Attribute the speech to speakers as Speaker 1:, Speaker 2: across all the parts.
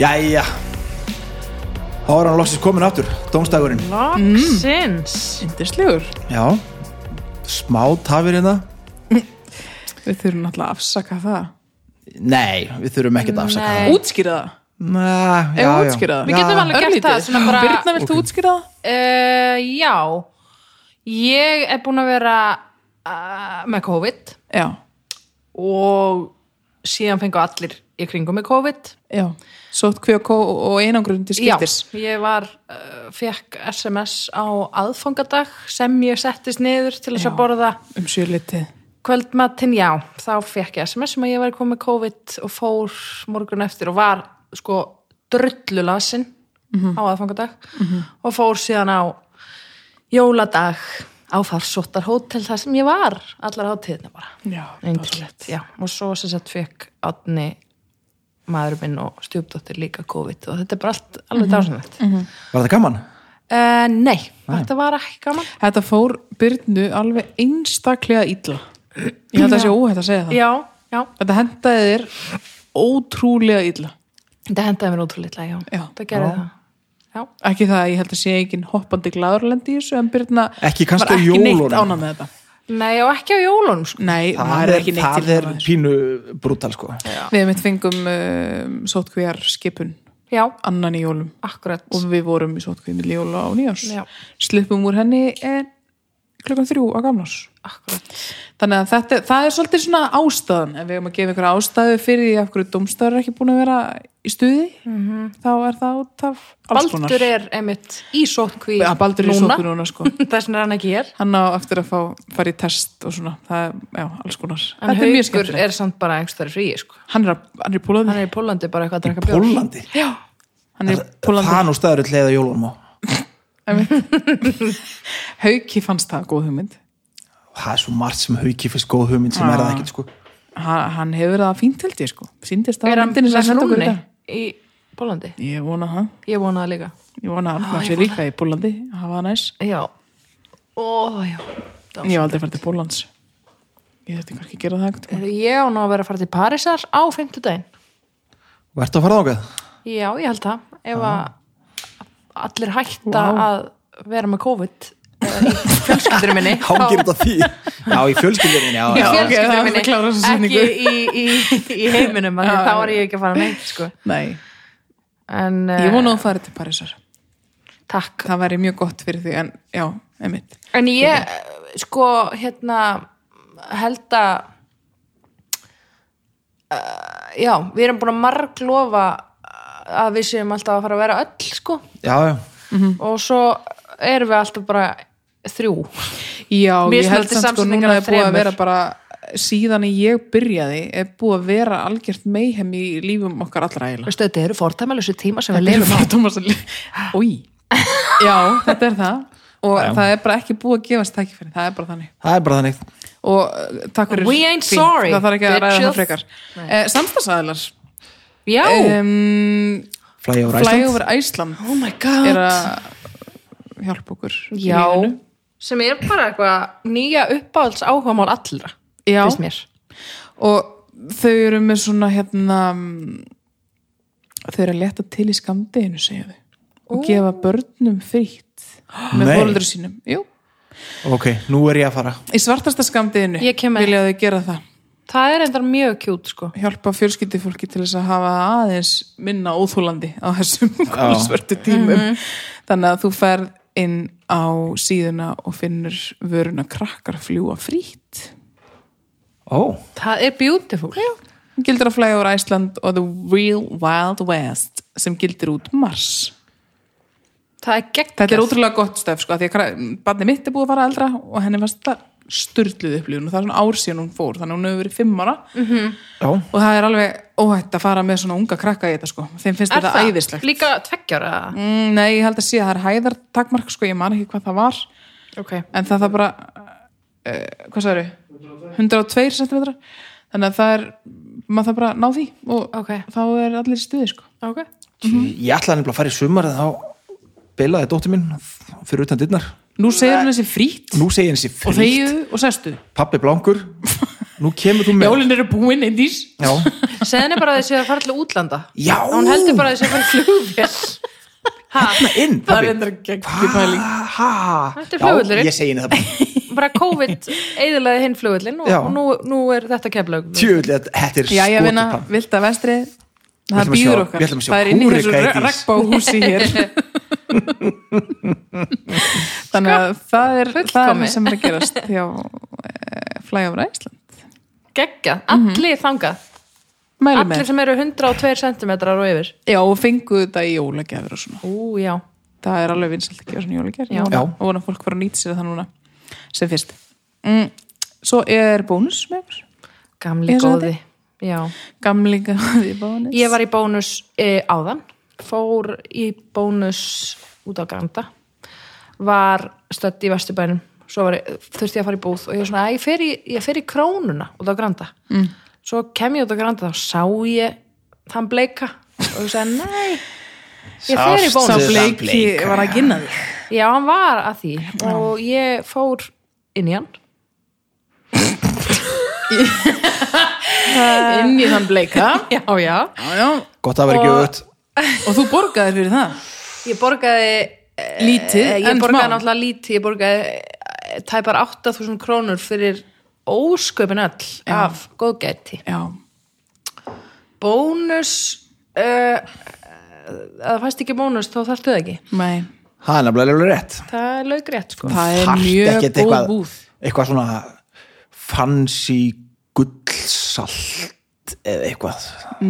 Speaker 1: Jæja Þá er hann loksist komin aftur, dómstagurinn
Speaker 2: Loksins
Speaker 3: Indislegur.
Speaker 1: Já, smá tafir hérna
Speaker 3: Við þurfum náttúrulega að afsaka það.
Speaker 1: Nei, við þurfum ekkert að afsaka
Speaker 2: Nei.
Speaker 1: það
Speaker 3: Útskýra það.
Speaker 1: Nei, já,
Speaker 3: Ef
Speaker 1: já.
Speaker 3: útskýra það.
Speaker 2: Við getum alveg gert
Speaker 3: Örlítið.
Speaker 2: það, svona bara-
Speaker 3: Birna, vilt þú útskýra það?
Speaker 2: uh, Já Ég er búin að vera uh, með COVID
Speaker 3: Já.
Speaker 2: og síðan fengu allir í kringum með COVID
Speaker 3: Já. Sótt kvjókó og einangrun til skiptis.
Speaker 2: Já, ég var, uh, fekk SMS á aðfangadag sem ég settist niður til þess
Speaker 3: Já.
Speaker 2: að borða
Speaker 3: Um sjölitið.
Speaker 2: kvöldmattin, já, þá fekk ég SMS sem um að ég var komið með COVID og fór morgun eftir og var sko drullulasin á aðfangadag og fór síðan á jóladag á farsóttar hótel þar sem ég var allar hátíðina bara
Speaker 3: Já.
Speaker 2: Eindirlegt, já. Og svo sem sagt fekk átni maður minn og stjúpdóttir líka COVID og þetta er bara allt alveg dásanlegt.
Speaker 1: Var það gaman?
Speaker 2: uh, nei, þetta var ekki gaman.
Speaker 3: Þetta fór Byrnu alveg einstaklega illa. Ég held að það sé óhætt að segja það.
Speaker 2: Já, já.
Speaker 3: Þetta hendaði þér ótrúlega illa.
Speaker 2: Þetta hendaði mér ótrúleitlega, já.
Speaker 3: Já.
Speaker 2: Það gerði
Speaker 1: Já.
Speaker 2: það. Já.
Speaker 3: Ekki það að ég held að sé engin hoppandi glæðurlendi í þessu en Byrna
Speaker 1: Ekki kannski á
Speaker 3: var ekki neitt
Speaker 1: jólunum.
Speaker 3: ána með þetta.
Speaker 2: Nei, og ekki á jólunum, sko.
Speaker 3: Nei,
Speaker 1: Það
Speaker 3: maður er ekki neitt
Speaker 1: það
Speaker 3: til
Speaker 1: er
Speaker 3: maður.
Speaker 1: pínu brútal sko
Speaker 3: Við mitt fengum um, sótkvíjar skipun
Speaker 2: Já,
Speaker 3: annan í jólum
Speaker 2: akkurat.
Speaker 3: og við vorum í sótkvíjar milli jóla og nýjás.
Speaker 2: Já.
Speaker 3: Sluppum úr henni eh, klukkan þrjú á gamlás.
Speaker 2: akkurat.
Speaker 3: Þannig að þetta, það er svolítið svona ástæðan ef við hefum að gefa ykkur ástæðu fyrir því af hverju domstæður er ekki búin að vera í stuði þá er það út af alls konar.
Speaker 2: Mhm. Baldur er einmitt í sótkví
Speaker 3: Ja, Baldur er í sótkví núna, sko.
Speaker 2: Þess vegna er hann ekki hér.
Speaker 3: Hann á eftir að fá, fara í test og svona, það er, já, alls konar.
Speaker 2: En
Speaker 3: Þetta er mjög
Speaker 2: haugur
Speaker 3: skemmtilegt.
Speaker 2: er samt bara einhverstari fríi, sko.
Speaker 3: Hann er, að- hann er í Pólandi.
Speaker 2: Hann er í Pólandi bara eitthvað að draka bjór.
Speaker 1: Pólandi,
Speaker 3: Hann er í
Speaker 1: það
Speaker 3: Pólandi.
Speaker 1: er nú staður að leiða jólunum á
Speaker 3: Hauki fannst það góð hugmynd.
Speaker 1: Það er svo margt sem hauki fyrst góð hugmynd sem
Speaker 3: Ah.
Speaker 1: er það ekkert sko
Speaker 3: Hann, hann hefur það fínt held ég, sko. Sýndist það
Speaker 2: Er
Speaker 3: á
Speaker 2: hann
Speaker 3: myndinni sem hann
Speaker 2: með
Speaker 3: sendi okkur í
Speaker 2: rúni
Speaker 3: dag.
Speaker 2: í Pólandi?
Speaker 3: Ég vona það.
Speaker 2: Ég vona það líka.
Speaker 3: Ég vona að hann sé líka í Pólandi. Hafa það næs.
Speaker 2: Já. Ó, já.
Speaker 3: En Ég hef aldrei farið til Pólans. Ég þetta kannski að gera það ekkert.
Speaker 2: Heyrðu, Ég á nú að vera að fara til Parísar á fimmtudaginn.
Speaker 1: Vertu að fara þákað?
Speaker 2: Já, ég held það. Ef að allir hætta
Speaker 3: Vá.
Speaker 2: að vera með COVID eh, í fjölskyldur minni.
Speaker 1: Hangir þetta því? Já, í fjölskyldurinn, já,
Speaker 2: Í
Speaker 1: já.
Speaker 3: ok, það
Speaker 2: fjölskyldur
Speaker 3: er
Speaker 2: minni,
Speaker 3: að klára þessa
Speaker 2: ekki
Speaker 3: setningu.
Speaker 2: í, í, í heiminum, af því þá er ég ekki að fara neitt, sko.
Speaker 3: Nei,
Speaker 2: En, eh,
Speaker 3: ég vona að fara til Parísar.
Speaker 2: Takk.
Speaker 3: Það væri mjög gott fyrir því, en já, einmitt.
Speaker 2: En ég, eh, sko, hérna, held að, uh, já, við erum búin að marglofa eh, að við séum alltaf að fara að vera öll, sko.
Speaker 1: já, já.
Speaker 2: Og svo erum við alltaf bara þrjú.
Speaker 3: Já,
Speaker 2: Mér
Speaker 3: ég held
Speaker 2: smelti
Speaker 3: samt sko
Speaker 2: samsetningar
Speaker 3: núna
Speaker 2: af
Speaker 3: er búið að
Speaker 2: þremur.
Speaker 3: vera bara síðan ég byrjaði er búið að vera algjört meihem í lífum okkar allra eiginlega.
Speaker 2: Veistu, þetta eru fordæmalösu tíma sem við lefum á.
Speaker 3: Thomas Új. Já, þetta er það og það er bara ekki búið að gefast tækifæri, það er bara þannig.
Speaker 1: Það er bara þannig
Speaker 3: Og uh, takk fyrir
Speaker 2: We ain't
Speaker 3: fínt.
Speaker 2: sorry,
Speaker 3: það þarf ekki að ræða
Speaker 2: bitches.
Speaker 3: það frekar. Eh, Samstagsæðilar
Speaker 2: Já,
Speaker 3: um,
Speaker 1: Flæja úr
Speaker 3: Fly
Speaker 1: Æsland
Speaker 3: over Iceland
Speaker 2: oh my god.
Speaker 3: er að hjálpa okkur í
Speaker 2: Já,
Speaker 3: lífinu.
Speaker 2: sem er bara eitthvað nýja uppáhalds áhugamál allra,
Speaker 3: Já.
Speaker 2: finnst mér.
Speaker 3: og þau eru með svona hérna mm, þau eru að leta til í skamdeginu segja þau og gefa börnum frítt með
Speaker 1: Nei.
Speaker 3: fólundur sínum Jú.
Speaker 1: Ok, nú er ég að fara
Speaker 3: í svartasta skamdeginu
Speaker 2: Ég kem með.
Speaker 3: vilja þau gera það
Speaker 2: Það er endar mjög kjút, sko.
Speaker 3: hjálpa fjölskyldufólki til þess að hafa það aðeins minna óþúlandi á þessum svörtu tímum
Speaker 2: Mhm.
Speaker 3: þannig að þú ferð inn á síðuna og finnur vöruna krakkar fljúa frítt
Speaker 1: Ó,
Speaker 2: Það er beautiful. Já.
Speaker 3: gildir að flæja úr Æsland og The Real Wild West sem gildir út mars
Speaker 2: Það er gegn.
Speaker 3: Þetta er ótrúlega gott stöf sko, af því að barni mitt er búið að fara eldra og henni var þetta styrluð upplifun og það er svona ár síðan hún fór, þannig að hún hefur verið fimm ára
Speaker 2: Mm.
Speaker 1: já,
Speaker 3: og það er alveg óhætt að fara með svona unga krakka í þetta sko, þeim finnst
Speaker 2: Er
Speaker 3: þetta
Speaker 2: það
Speaker 3: æðislegt.
Speaker 2: Líka tveggjara. Mm.
Speaker 3: Mm, nei, ég held að sé að það er hæðartakmark sko, ég man ekki hvað það var,
Speaker 2: Ok.
Speaker 3: en það það bara, uh, hvað sagði 102 cm, þannig að það er, maður það bara að ná því og
Speaker 2: Ok.
Speaker 3: þá er allir í stuði sko.
Speaker 2: Ok.
Speaker 1: Tí,
Speaker 3: Mhm.
Speaker 1: ég ætlaði nefnilega að fara í sumar en þá bilaði dóttir mín fyrir utan dyrnar
Speaker 3: Nú segir hún þessi frýtt
Speaker 1: Nú segir henni sér
Speaker 3: og
Speaker 1: frítt
Speaker 3: þegju og sestu.
Speaker 1: Pappi blankur nú kemur þú með
Speaker 3: Jólin eru búin indís
Speaker 1: Já,
Speaker 2: segði henni bara að þessi að fara til útlanda
Speaker 1: Já.
Speaker 2: hún heldur bara að þessi að fara til flugvél ha,
Speaker 1: inn
Speaker 3: Það er endur gegn í pæling
Speaker 2: Þetta er
Speaker 1: Já,
Speaker 2: flugvöllurinn.
Speaker 1: ég segi henni það bara
Speaker 2: bara COVID eðilaði hinn flugvillin og,
Speaker 1: Já.
Speaker 2: og nú, nú er þetta keflaug
Speaker 1: Tjöfull, þetta- þetta er
Speaker 3: Já, ég
Speaker 1: skotið
Speaker 3: meina,
Speaker 1: plan.
Speaker 3: vilt að vestri
Speaker 1: Við
Speaker 3: Það
Speaker 1: ætlum að sjá-
Speaker 3: býður
Speaker 1: við
Speaker 3: okkar
Speaker 1: ætlum að sjá
Speaker 3: Það er inn í þessu
Speaker 1: kúreka í því.
Speaker 3: rakbáhúsi hér Þannig að
Speaker 2: Sko,
Speaker 3: það er það er
Speaker 2: fullkomið.
Speaker 3: sem er að gerast hjá flægjáfra Ísland
Speaker 2: geggja, allir þangað
Speaker 3: Mælum
Speaker 2: allir
Speaker 3: Mhm. með
Speaker 2: sem eru 102 cm og yfir
Speaker 3: Já, og fengu þetta í jólagjafir og svona
Speaker 2: ú já,
Speaker 3: Það er alveg vinsalt að gefa svona jólagjafir
Speaker 2: Já.
Speaker 3: Ég vona-
Speaker 1: Já.
Speaker 3: og vona að fólk fara að nýta sér það núna sem fyrst mm, Svo er bónus með okkur
Speaker 2: gamli
Speaker 3: Eins og
Speaker 2: góði já.
Speaker 3: Gamlinga því bónus
Speaker 2: ég var í bónus e, áðan fór í bónus út á Granda var stödd í Vesturbænum svo var, ég- þurfti ég að fara í búð og ég var svona, "Æ, ég fer í, ég fer í krónuna út á Granda mm. svo kem ég út á Granda þá sá ég þann bleika og ég sagði, nei ég fer
Speaker 1: Sástu
Speaker 2: í
Speaker 3: Sá
Speaker 1: það?
Speaker 2: bónus
Speaker 3: bleiki
Speaker 1: Bleika.
Speaker 3: var að ginna því
Speaker 2: Já, hann var að því og ég fór inn í hann
Speaker 3: Inn í þann bleika
Speaker 2: Já, já
Speaker 3: Já, já,
Speaker 1: Gott að vera ekki auðvöld
Speaker 3: Og þú borgaðir fyrir það?
Speaker 2: Ég borgaði
Speaker 3: Lítið,
Speaker 2: eh,
Speaker 3: en
Speaker 2: Ég borgaði
Speaker 3: smá.
Speaker 2: náttúrulega lítið, ég borgaði eh, tæpar 8000 krónur fyrir ósköpin öll af góðgæti
Speaker 3: Já.
Speaker 2: Bónus uh, það fæst ekki bónus þá þarftu það ekki
Speaker 3: Nei,
Speaker 1: Það er nefnilega alveg rétt
Speaker 2: Það er lauk rétt sko
Speaker 3: það er
Speaker 1: Þarft
Speaker 3: mjög
Speaker 1: ekkert
Speaker 3: góð
Speaker 1: eitthvað-
Speaker 3: búð.
Speaker 1: Eitthvað svona fancy gullsalt eða eitthvað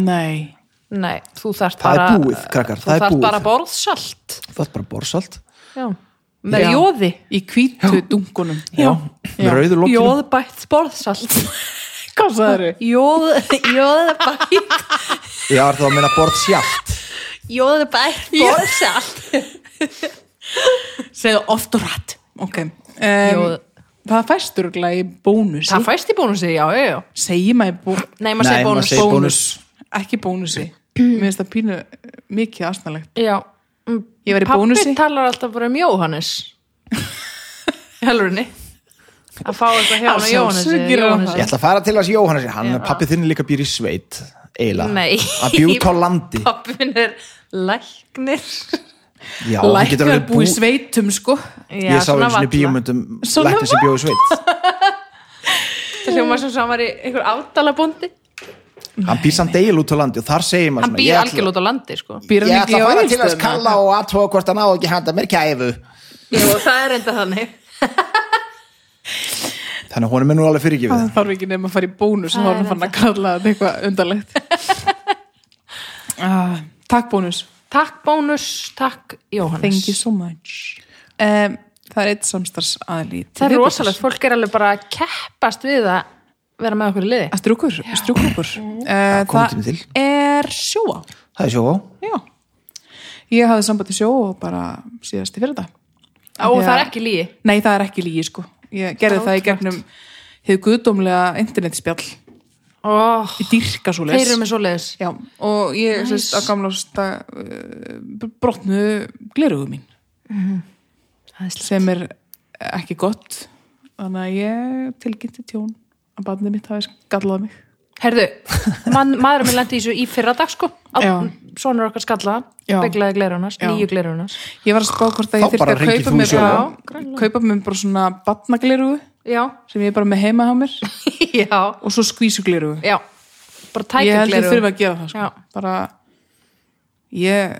Speaker 3: Nei.
Speaker 2: Nei, þú þarft
Speaker 1: Það er
Speaker 2: bara
Speaker 1: búið, krakkar,
Speaker 2: Þú
Speaker 1: það er
Speaker 2: þarft
Speaker 1: búið.
Speaker 2: bara borðsalt
Speaker 1: Það er bara borsalt
Speaker 2: Já, með
Speaker 3: Já.
Speaker 2: jóði
Speaker 3: Í hvítu dungunum.
Speaker 1: Já, með rauður lokkinum
Speaker 2: Jóðbætt borðsalt
Speaker 3: Hvað það eru?
Speaker 2: Jóð, jóðbætt
Speaker 1: Já, er það að meina borðsjalt
Speaker 2: Jóðbætt borðsalt
Speaker 3: Segðu oft og rætt. Ok. Um,
Speaker 2: Jóð-
Speaker 3: það fæstur örugglega í bónusi.
Speaker 2: Það fæst í bónusi, já, já, já
Speaker 3: Segir maður bó
Speaker 2: Nei,
Speaker 1: Nei,
Speaker 2: maður segir
Speaker 1: maður
Speaker 2: bónus
Speaker 1: segir- bónus.
Speaker 3: Ekki bónusi. Mér finnst það pínu mikið asnalegt.
Speaker 2: Já
Speaker 3: Ég var í bónusi.
Speaker 2: Pappi talar alltaf bara um Jóhannes Helvunni Að fá eitthvað hjá hann
Speaker 3: Já,
Speaker 2: Jóhannesi
Speaker 3: sjálfsögur er
Speaker 2: Jóhannesi.
Speaker 1: Ég ætla að fara til hans Jóhannes Hann er pappi þinn líka býr í sveit Eila
Speaker 2: Nei.
Speaker 1: Hann býr út á landi
Speaker 2: Pappi minn er læknir
Speaker 1: Já, hann getur
Speaker 3: Læknar
Speaker 1: alveg
Speaker 3: búi
Speaker 1: bú-
Speaker 3: sveitum, sko.
Speaker 2: Já,
Speaker 1: Ég sá einu sinni
Speaker 2: valla.
Speaker 1: bíómyndum
Speaker 3: Svona
Speaker 1: Læknir sem bjóði sveit
Speaker 2: Það hljóma sem svo hann var í einhver ádalabondi
Speaker 1: Hann býr samt eil út á landi og þar segir maður
Speaker 2: Hann býr algjörlega út á landi, sko
Speaker 3: Býr hann
Speaker 1: Ég ætla að
Speaker 3: ekki á
Speaker 1: fara til hans
Speaker 3: Egilsstöðum,
Speaker 1: kalla og aðtóa hvort hann á ekki handa mér kæfu
Speaker 2: Já, það er enda þannig
Speaker 1: Þannig að honum er nú alveg fyrirgefið
Speaker 3: það þarf ekki nefn að fara í bónus og þá er hann fann að kalla þetta eitthvað undarlegt ah, Takk bónus
Speaker 2: Takk bónus, takk Jóhannes
Speaker 3: Thank you so much um, Það er eitt samstars aðli
Speaker 2: Það er rosalegt, fólk er alveg bara að keppast við að vera með okkur í liði
Speaker 3: Strúkur, strúkur uh,
Speaker 1: komið tími til.
Speaker 3: er sjóa
Speaker 1: Það er sjóa
Speaker 3: Já Ég hafði sambandi sjó og bara síðast í fyrir það
Speaker 2: og
Speaker 3: Já.
Speaker 2: það er ekki lígi
Speaker 3: Nei, það er ekki lígi sko Ég gerði það í gegnum hefðu guðdómlega internetspjall
Speaker 2: oh,
Speaker 3: í dýrka svo
Speaker 2: Þeir eru með svoleiðis
Speaker 3: Já, og ég nice. sérst á gamla ásta uh, brotnu gleruðu mín
Speaker 2: Æðislegt.
Speaker 3: sem er ekki gott þannig að ég tilkynnti tjón að barnið mitt hafi skallað mig
Speaker 2: Herðu, man, maðurinn minn lendi í þessu í fyrra dag sko
Speaker 3: Já.
Speaker 2: Sónur okkar skallaða,
Speaker 3: Já.
Speaker 2: beglaði gleirunars,
Speaker 3: Já.
Speaker 2: nýju gleirunars
Speaker 3: ég var að spá hvort
Speaker 1: Þá
Speaker 3: að ég þyrfti
Speaker 1: bara
Speaker 3: að
Speaker 1: hringir
Speaker 3: kaupa
Speaker 1: þú
Speaker 3: mér
Speaker 1: í
Speaker 3: bara,
Speaker 2: sjóðinn. Já, greinlega.
Speaker 3: kaupa mér bara svona barnagleruðu
Speaker 2: Já,
Speaker 3: sem ég er bara með heima á mér
Speaker 2: já,
Speaker 3: og svo skvísugleruðu
Speaker 2: já Bara
Speaker 3: ég
Speaker 2: tækja
Speaker 3: held ég þurfa að gera það
Speaker 2: Já.
Speaker 3: sko. bara ég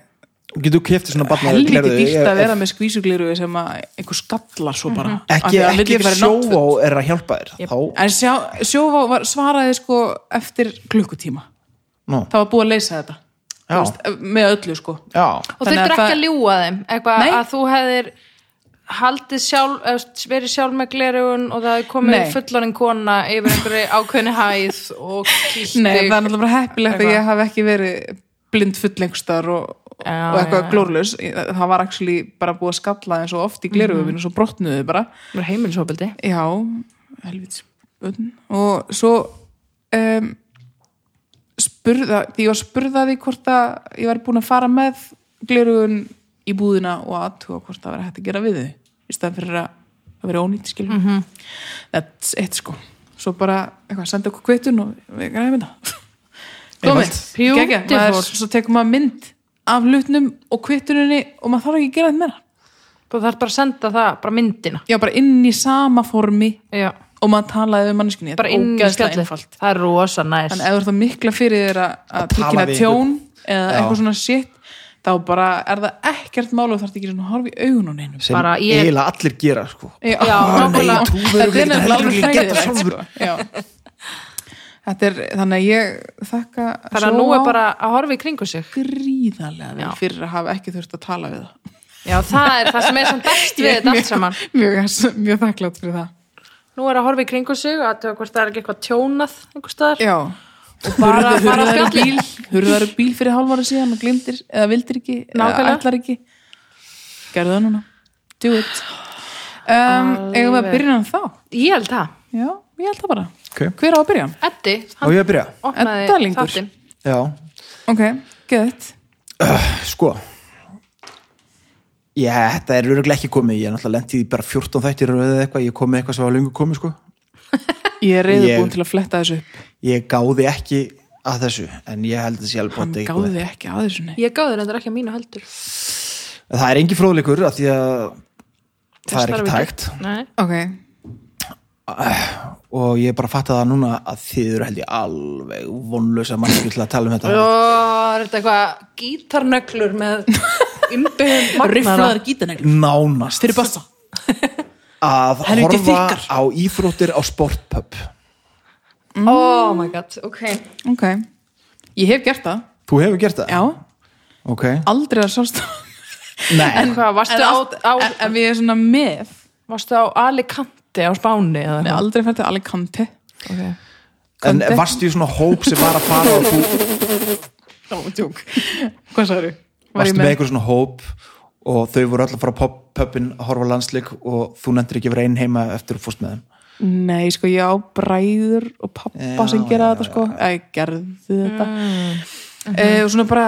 Speaker 1: Getur kefti svona barna
Speaker 3: helviti dýrt að vera með skvísugleruðu sem að einhver skallar svo bara Af
Speaker 1: Ekki,
Speaker 3: því að hann vill
Speaker 1: ekki ef
Speaker 3: vera í náttföt.
Speaker 1: sjóa er að hjálpa þér Þá,
Speaker 3: En sjá, sjóvá var, svaraði sko eftir klukkutíma.
Speaker 1: nú,
Speaker 3: Það var búið að leysa þetta.
Speaker 1: Já.
Speaker 3: Þú Veist, með öllu sko.
Speaker 1: já
Speaker 2: Og
Speaker 3: Þannig að
Speaker 2: þurftur ekki
Speaker 3: það-
Speaker 2: að ljúga þeim eitthvað
Speaker 3: Nei.
Speaker 2: að þú hefðir haldið sjálf, eða verið sjálf með glerugun og það hefði komið
Speaker 3: Nei.
Speaker 2: fullorinn kona yfir einhverju ákveðni hæð og kýtti
Speaker 3: Nei, það er náttúrulega bara heppilegt að ég hafi ekki verið blind fulllengstar og,
Speaker 2: Já,
Speaker 3: og eitthvað
Speaker 2: já, já.
Speaker 3: glórlaus. Það var actually bara búið að skalla þeim svo oft í gleruðum og svo brotnuðu þau bara.
Speaker 2: bara heimilisofbildi
Speaker 3: Já, helvits. börn. Og svo um, spurða, því ég var spurðaði hvort að ég var búin að fara með gleruðun í búðina og aðtuga hvort það var hægt að gera við þau í staðan fyrir að að vera ónýtt skilur. That's it sko. svo bara eitthvað, senda okkur kvittun og við græðum þetta
Speaker 2: Komið,
Speaker 3: Geggjað, maður,
Speaker 2: beautiful
Speaker 3: svo tekum maður mynd af hlutnum og kvittuninni og maður þarf ekki að gera þetta meira
Speaker 2: Þú þarf bara að senda það, bara myndina
Speaker 3: já, bara inn í sama formi
Speaker 2: Já,
Speaker 3: og maður talaði við manneskunni
Speaker 2: bara inn í skjallið Það er rosa næs
Speaker 3: þannig ef þú ert að mikla fyrir þér að-
Speaker 1: Að
Speaker 3: að
Speaker 1: tala
Speaker 3: píkina
Speaker 1: við
Speaker 3: tjón eða
Speaker 1: Já.
Speaker 3: eitthvað svona shit þá bara er það ekkert mál og þarf ekki að horfa í augun á neinum
Speaker 1: sem
Speaker 2: Bara ég-
Speaker 1: eiginlega allir gera sko.
Speaker 3: Já,
Speaker 2: Já, nákvæmlega.
Speaker 1: trúverðugleiki,
Speaker 3: Þetta
Speaker 1: þetta
Speaker 3: er nefnilega
Speaker 1: heldur
Speaker 3: alveg
Speaker 1: ekki að geta
Speaker 3: hræðilegt,
Speaker 1: sjálfur.
Speaker 3: sko. Já. Þetta er, þannig að ég þakka
Speaker 2: Þannig að nú er bara að horfa í kringu sig
Speaker 3: gríðarlega vel
Speaker 2: Já.
Speaker 3: fyrir að hafa ekki þurft að tala við það
Speaker 2: Já, það er það sem er sem best við
Speaker 3: Ég er
Speaker 2: þetta
Speaker 3: mjög-
Speaker 2: allt saman
Speaker 3: Mjög, mjög þakklátt fyrir það
Speaker 2: Nú er að horfa í kringu sig að það hvort það er ekki eitthvað tjónað einhver staðar
Speaker 3: Já,
Speaker 2: og bara að fara á
Speaker 3: hurðar í
Speaker 2: skjallið
Speaker 3: bíl Hurðar í bíl fyrir hálfara síðan og glimtir eða vildir ekki, eða
Speaker 2: Nákvæmlega.
Speaker 3: ætlar ekki Gerðu það núna Do it um, Eigum við að
Speaker 2: Alveg.
Speaker 3: byrja hann þá?
Speaker 2: Ég held það,
Speaker 3: Já, ég held það bara
Speaker 1: Ok.
Speaker 3: Hver á að byrja hann?
Speaker 2: Eddi
Speaker 1: Á ég að byrja?
Speaker 3: Edda
Speaker 2: opnaði
Speaker 3: lengur.
Speaker 2: þáttinn
Speaker 1: Já,
Speaker 3: Ok, gett
Speaker 1: sko Já, þetta er öruglega ekki komið Ég er náttúrulega lent í því bara 14 þættir eða eitthvað, ég kom með eitthvað sem var löngu komið sko.
Speaker 3: Ég er reyðubúin
Speaker 1: Ég-
Speaker 3: til að fletta þessu upp
Speaker 1: Ég gáði ekki að þessu en ég held að þessi alveg
Speaker 3: Hann
Speaker 1: pottþétt eitthvað.
Speaker 3: gáði ekki að þessu nei
Speaker 2: Ég gáði þetta ekki að mínu heldur
Speaker 1: En Það er engin fróðleikur af því að það er
Speaker 2: starf
Speaker 1: ekki
Speaker 2: ekki.
Speaker 1: tækt
Speaker 2: Nei,
Speaker 3: Ok,
Speaker 1: og ég bara fatta það núna að þið eru held ég alveg vonlösa mannskjöld til að tala um þetta
Speaker 2: og er þetta eitthvað gítarnöglur með umbyggum magnaðar
Speaker 3: gítanegl
Speaker 1: nánast
Speaker 3: bassa
Speaker 1: að
Speaker 3: Helviti
Speaker 1: horfa
Speaker 3: þykkar.
Speaker 1: á íþróttir á sportpub
Speaker 2: oh my god, ok
Speaker 3: Ok, ég hef gert það
Speaker 1: Þú hefur gert það?
Speaker 3: Já,
Speaker 1: Ok,
Speaker 3: aldrei að sjálfstof
Speaker 1: nei,
Speaker 2: hvað, varstu
Speaker 3: en,
Speaker 2: á,
Speaker 3: allt-
Speaker 2: á,
Speaker 3: en, en við erum svona með
Speaker 2: varstu á Alicante á Spáni eða
Speaker 3: Við erum aldrei fært til Alicante
Speaker 2: okay.
Speaker 1: en
Speaker 3: Komdu.
Speaker 1: varstu í svona hóp sem var að fara og þú
Speaker 3: Nó, tjók Hvað sagður?
Speaker 1: varstu með einhver svona hóp og þau voru öll að fara á pub- pubin að horfa á landsleik og þú nefndir ekki að vera einn heima eftir að fórst með þeim
Speaker 3: Nei, sko, ég á bræður og pappa
Speaker 1: Já,
Speaker 3: sem gera
Speaker 1: já,
Speaker 3: þetta, sko Æ, gerðu þetta
Speaker 2: Mm,
Speaker 3: e, Og svona bara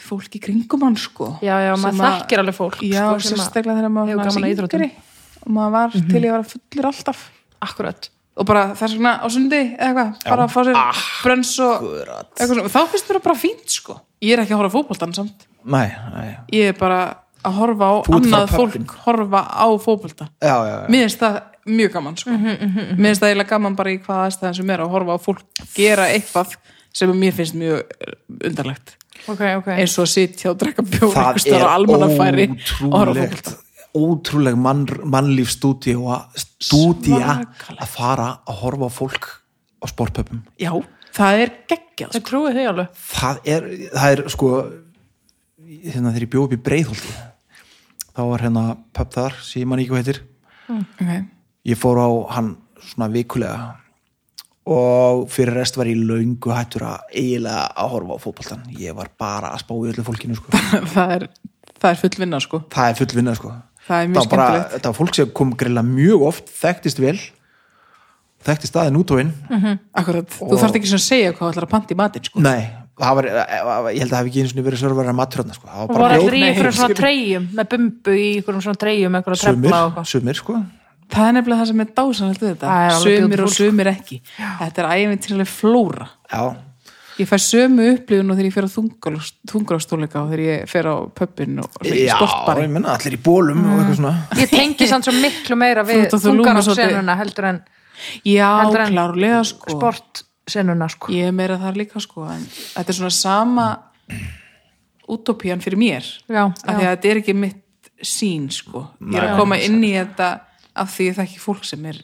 Speaker 3: fólk í kringum hann, sko
Speaker 2: mhm. já, já,
Speaker 3: sem
Speaker 2: maður
Speaker 3: að-
Speaker 2: þekkir alveg fólk
Speaker 3: Já,
Speaker 2: sko, sem að-
Speaker 3: sérstaklega þegar maður
Speaker 2: hefur
Speaker 3: var
Speaker 2: gaman að íþróttum. Mhm.
Speaker 3: yngri og maður var til ég var að fullur alltaf
Speaker 2: akkurat
Speaker 3: og bara þess vegna á sundi eða eitthvað, bara að fá sér ah, brönns og eitthvað svona, þá finnst mér það bara fínt sko ég er ekki að horfa á fótboltan samt
Speaker 1: Nei, nei,
Speaker 3: ég er bara að horfa á
Speaker 1: Þú ert
Speaker 3: annað
Speaker 1: frá
Speaker 3: fólk
Speaker 1: pöbbin.
Speaker 3: horfa á fótbolta
Speaker 1: já, já, já
Speaker 3: mér finnst það mjög gaman sko mér finnst það eiginlega gaman bara í hvaða aðstæðan sem er að horfa á fólk gera eitthvað sem mér finnst mjög eh, undarlegt
Speaker 2: ok, ok
Speaker 3: eins og að sitja og drekka bjór
Speaker 1: það
Speaker 3: einhvers staðar á almannafæri og horfa á
Speaker 1: ótrúlegt
Speaker 3: fótbolta
Speaker 1: ótrúleg mann, mannlíf stúdíu stúdía
Speaker 3: Svakalegt.
Speaker 1: að fara að horfa á fólk á sportpöpum
Speaker 3: já, það er geggjað sko.
Speaker 2: Ég trúi því alveg
Speaker 1: það er, það er sko hérna þegar ég bjóð upp í breiðholti þá var hérna pöp þar sem ég man ekki hvað heitir
Speaker 3: okay.
Speaker 1: ég fór á hann svona vikulega og fyrir rest var ég löngu hættur að eiginlega að horfa á fótboltan ég var bara að spá í öllu fólkinu sko.
Speaker 3: það, er, það er fullvinna sko
Speaker 1: það er full vinna sko
Speaker 3: það er
Speaker 1: það
Speaker 3: mjög
Speaker 1: var bara,
Speaker 3: skemmtilegt
Speaker 1: þetta var fólk sem kom greila mjög oft, þekktist vel þekktist staðin út og inn
Speaker 3: Mhm. Akkurat, þú þarft ekki svona að segja hvað þú ætlar að panta í matinn sko.
Speaker 1: nei, það var, ég held að það hafi ekki einu sinni verið sörfara maturöðna, sko, það
Speaker 2: Hún
Speaker 1: var
Speaker 2: voru
Speaker 1: bara
Speaker 2: allir í
Speaker 3: Nei,
Speaker 2: einhverjum svona
Speaker 3: skil-
Speaker 2: treyjum með bumbu í einhverjum svona treyjum með einhverjum trefla og
Speaker 1: sumir,
Speaker 2: eitthvað
Speaker 1: sumir, sko
Speaker 3: Það er nefnilega það sem er dásanallt við
Speaker 2: Það er
Speaker 3: þetta
Speaker 2: alveg
Speaker 3: Sumir
Speaker 2: beautiful,
Speaker 3: og sumir ekki Þetta er æfintrileg flóra
Speaker 1: já,
Speaker 3: Ég fæ sömu upplifun og þegar ég fer á þungrástóleika og þegar ég fer á pöppin og svona í
Speaker 1: já,
Speaker 3: sportbari Mhm.
Speaker 1: ég menna, allir í bólum og eitthvað svona
Speaker 2: Ég tengi samt svo miklu meira
Speaker 3: Þú
Speaker 2: við
Speaker 3: ert að þú lúmar svolítið.
Speaker 2: þungarássenuna heldur en
Speaker 3: Já,
Speaker 2: Heldur en-
Speaker 3: klárlega sko
Speaker 2: sportsenuna sko
Speaker 3: Ég er meira þar líka sko en Þetta er svona sama utopían fyrir mér
Speaker 2: Já,
Speaker 3: af því að þetta er ekki mitt sín sko Ég er að koma inn í þetta af því ég þekki fólk sem er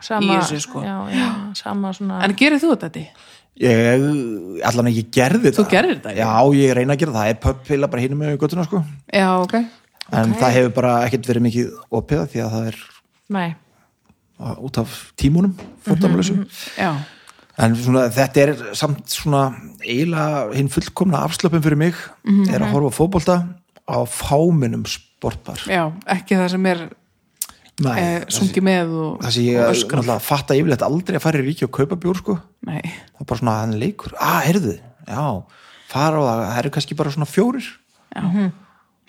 Speaker 2: sama,
Speaker 3: í þessu, sko.
Speaker 2: já, já, sama svona
Speaker 3: En gerir þú þetta þetta?
Speaker 1: ég, allan að ég gerði
Speaker 3: Þú
Speaker 1: það
Speaker 3: gerir þetta, já.
Speaker 1: já, ég reyna að gera það, það er pöppila bara hínum með göttuna, sko en
Speaker 3: Já, ok
Speaker 1: það hefur bara ekkert verið mikið opiða því að það er
Speaker 2: nei,
Speaker 1: á- út af tímunum,
Speaker 3: Mhm,
Speaker 1: fórdamlösu
Speaker 3: Já,
Speaker 1: En svona, þetta er samt svona eiginlega hinn fullkomna afslöpum fyrir mig
Speaker 3: Mhm,
Speaker 1: er að horfa á fótbolta á fáminum sportbar.
Speaker 3: já, ekki það sem er
Speaker 1: Nei,
Speaker 3: eh, sungið með og,
Speaker 1: það sem ég
Speaker 3: og öskra
Speaker 1: náttúrulega fatta yfirleitt aldrei að fara í ríki og kaupa bjór sko.
Speaker 3: Nei,
Speaker 1: Það er bara svona hann leikur. Ah, heyrðu, já, fara á það, það eru kannski bara svona fjórir Mhm.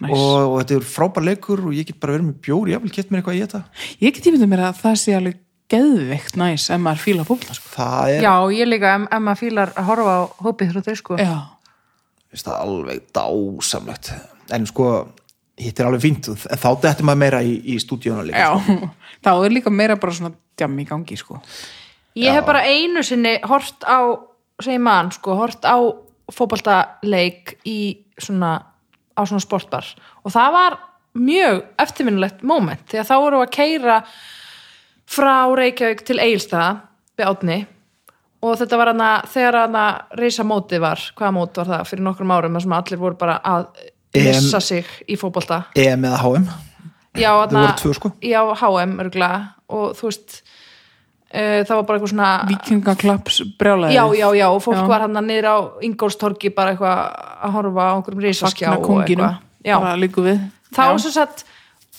Speaker 3: næs
Speaker 1: og, og þetta er frábær leikur og ég get bara verið með bjór, ég vil gett mér eitthvað í þetta.
Speaker 3: Ég get ímyndað mér að það sé alveg geðveikt næs ef maður fíla fótbolta sko.
Speaker 1: það er,
Speaker 2: Já, ég líka, ef, ef maður fílar að horfa á hópið þrjóttir, sko.
Speaker 3: Já,
Speaker 1: veist það, alveg dásamlegt en sko, hitt er alveg fínt en þá dettur maður meira í, í stúdíónu líka
Speaker 3: já. Þá er líka meira bara svona djammi í gangi sko.
Speaker 2: Ég hef bara einu sinni hort á, segi mann, sko, hort á fótboltaleik í svona, á svona sportbar og það var mjög eftirminnulegt moment því að þá vorum við að keira frá Reykjavík til Egilstaða við átni og þetta var hana, þegar hana reysa móti var, hvaða mót var það fyrir nokkrum árum þar sem allir voru bara að
Speaker 1: EM.
Speaker 2: missa sig í fótbolta
Speaker 1: EM eða HM
Speaker 2: já, þarna,
Speaker 1: voru tvö, sko.
Speaker 2: já, HM örgulega og þú veist uh, það var bara eitthvað svona
Speaker 3: Vikingaklaps brjálæði
Speaker 2: já, já, já, og fólk
Speaker 3: Já.
Speaker 2: var hann að niður á Ingólstorgi bara eitthvað að horfa á einhverjum risaskjá
Speaker 3: Fagna
Speaker 2: og
Speaker 3: konginum,
Speaker 2: eitthvað. já,
Speaker 3: bara líku við
Speaker 2: þá sem sagt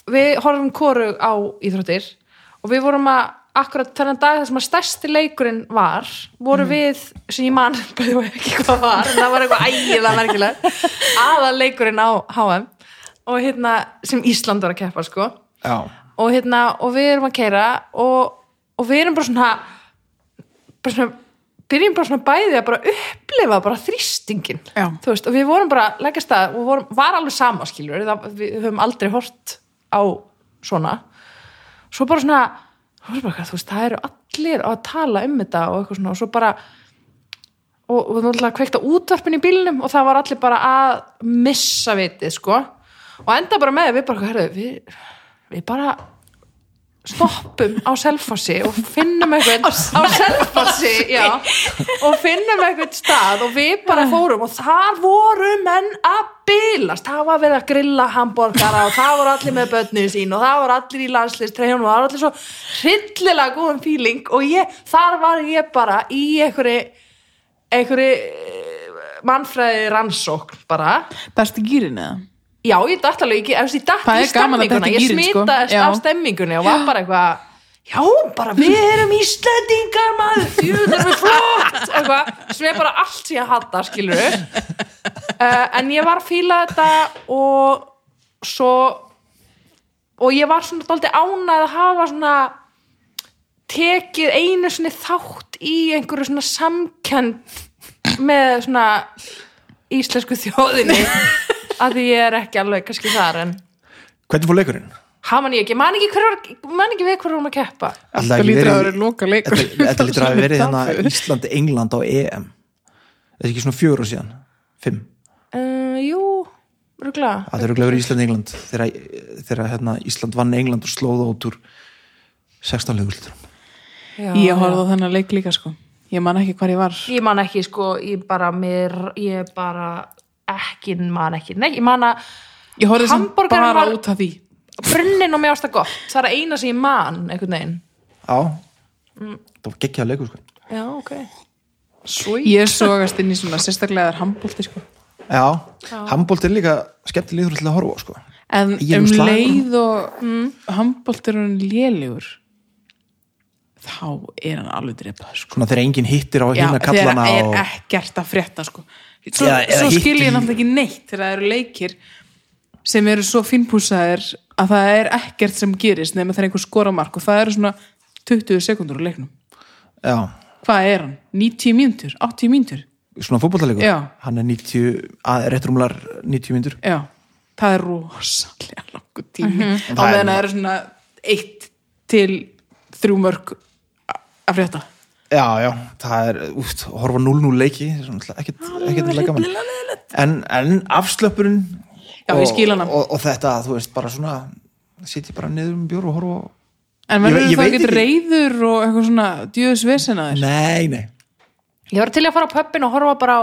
Speaker 2: við horfum koru á íþróttir og við vorum að akkurat þennan dag þar sem að stærsti leikurinn var voru
Speaker 3: Mhm.
Speaker 2: við, sem ég man bæði og ekki hvað var, en það var eitthvað ægilega merkileg, aða leikurinn á HM og hérna sem Ísland var að keppa sko
Speaker 1: já,
Speaker 2: og hérna, og við erum að keira og, og við erum bara svona bara svona byrjum bara svona bæði að bara upplifa bara þrýstingin,
Speaker 3: Já.
Speaker 2: þú veist, og við vorum bara að leggja stað og vorum, var alveg sama skilur það, við höfum aldrei hort á svona svo bara svona, það var bara eitthvað, þú veist, það eru allir að tala um þetta og eitthvað svona og svo bara og, og þú ætlaði að kveikta útvarpin í bílnum og það var allir bara að missa vitið, sko og enda bara með, við bara, herrðu, við, við bara stoppum á selfossi og finnum eitthvað á selfossi já, og finnum eitthvað stað og við bara fórum og þar voru menn að bylast það var verið að grilla hambúrgara og það voru allir með börnum sín og það voru allir í landslistreinu og það voru allir svo hryllilega góðum fíling og ég, þar var ég bara í einhverju einhverju eh, mannfræði rannsókn bara
Speaker 3: Dæsti gýrin eða?
Speaker 2: Já, ég datt alveg, ég, ég, ég datt
Speaker 3: Það
Speaker 2: í
Speaker 3: er gaman að
Speaker 2: stemminguna,
Speaker 3: detta í
Speaker 2: ég
Speaker 3: gírinn, sko.
Speaker 2: smitaðist
Speaker 3: Já. Hmm.
Speaker 2: af stemmingunni og var bara eitthvað, já, bara við erum Íslendingar maður, jú, það er flott, eitthvað, sem er bara allt sem ég hata, skilur uh, en ég var að fíla þetta og svo, og ég var svona dálítið ánæð að hafa svona tekið einu svona þátt í einhverju svona samkend með svona íslensku þjóðinni að því ég er ekki alveg kannski þar en
Speaker 1: hvernig fór leikurinn?
Speaker 2: hann man ég ekki, man ekki, hver, var- man ekki við hver vorum að keppa
Speaker 1: Ætli
Speaker 3: Það
Speaker 1: hafi
Speaker 3: lítur að
Speaker 1: verið-
Speaker 3: vera loka leikur
Speaker 1: Þetta- þetta lítur að hafa verið hérna þannig Íslandi, England á EM þetta er ekki svona fjögur og síðan fimm,
Speaker 2: uh, jú, rúglega
Speaker 1: það er auðvitað verið Íslandi, England þegar, þegar hérna, Ísland vann England og slóða út úr 16 legulitur
Speaker 3: Ég horfði á þennan leik líka sko Ég man ekki hvar ég var
Speaker 2: ég man ekki sko, ég bara mér, ég bara ekki man ekki, nei, ég man að
Speaker 3: Ég horfði sem
Speaker 2: Hamborgarinn
Speaker 3: bara
Speaker 2: var-
Speaker 3: út af því
Speaker 2: brunnin og mér ást það gott, það er að eina sem ég man einhvern veginn,
Speaker 1: á,
Speaker 3: Mm.
Speaker 1: það var geggjað leikur sko.
Speaker 2: já, ok sweet,
Speaker 3: Ég sogast inn í svona sérstaklega þar handbólti sko
Speaker 1: já, handbólt er líka skemmtilegur til að horfa á, sko.
Speaker 3: En
Speaker 1: Ég er
Speaker 3: um
Speaker 1: nú slagur.
Speaker 3: leið og mm. handbólti er hann lélegur þá er hann alveg dreipað sko
Speaker 1: svona þegar enginn hittir á
Speaker 3: Já,
Speaker 1: hérna
Speaker 3: þegar
Speaker 1: kallana
Speaker 3: er
Speaker 1: og,
Speaker 3: ekkert að frétta sko Svo,
Speaker 1: Eða- eða
Speaker 3: svo
Speaker 1: hitt-
Speaker 3: skil ég náttúrulega ekki neitt þegar það eru leikir sem eru svo fínpúsaðir að það er ekkert sem gerist nema það er einhver skoramark og það eru svona 20 sekundur á leiknum
Speaker 1: já,
Speaker 3: hvað er hann? 90 mínútur? 80 mínútur?
Speaker 1: svona fótbollalegur
Speaker 3: Já.
Speaker 1: hann er 90, að, rétt rúmlar 90 myndur
Speaker 3: Já, það er rosalega langu tími á
Speaker 1: Það er-
Speaker 3: meðan það eru svona eitt til þrjú mörg a- að frétta
Speaker 1: Já, já, það er, úst, horfa 0-0 leiki, það er svona náttúrulega ekkert, ekkert leika mann. En, en afslöpurinn
Speaker 3: Já, ég skil hana.
Speaker 1: og, og þetta, þú veist, bara svona, sitja bara niður um bjór og horfa á...
Speaker 3: En
Speaker 1: Ég-
Speaker 3: verður
Speaker 1: ég
Speaker 3: það
Speaker 1: veit
Speaker 3: ekkert
Speaker 1: ekki.
Speaker 3: reyður og eitthvað svona djöðsvesenaðir?
Speaker 1: Nei, nei.
Speaker 2: ég var til að fara á pöppin og horfa bara á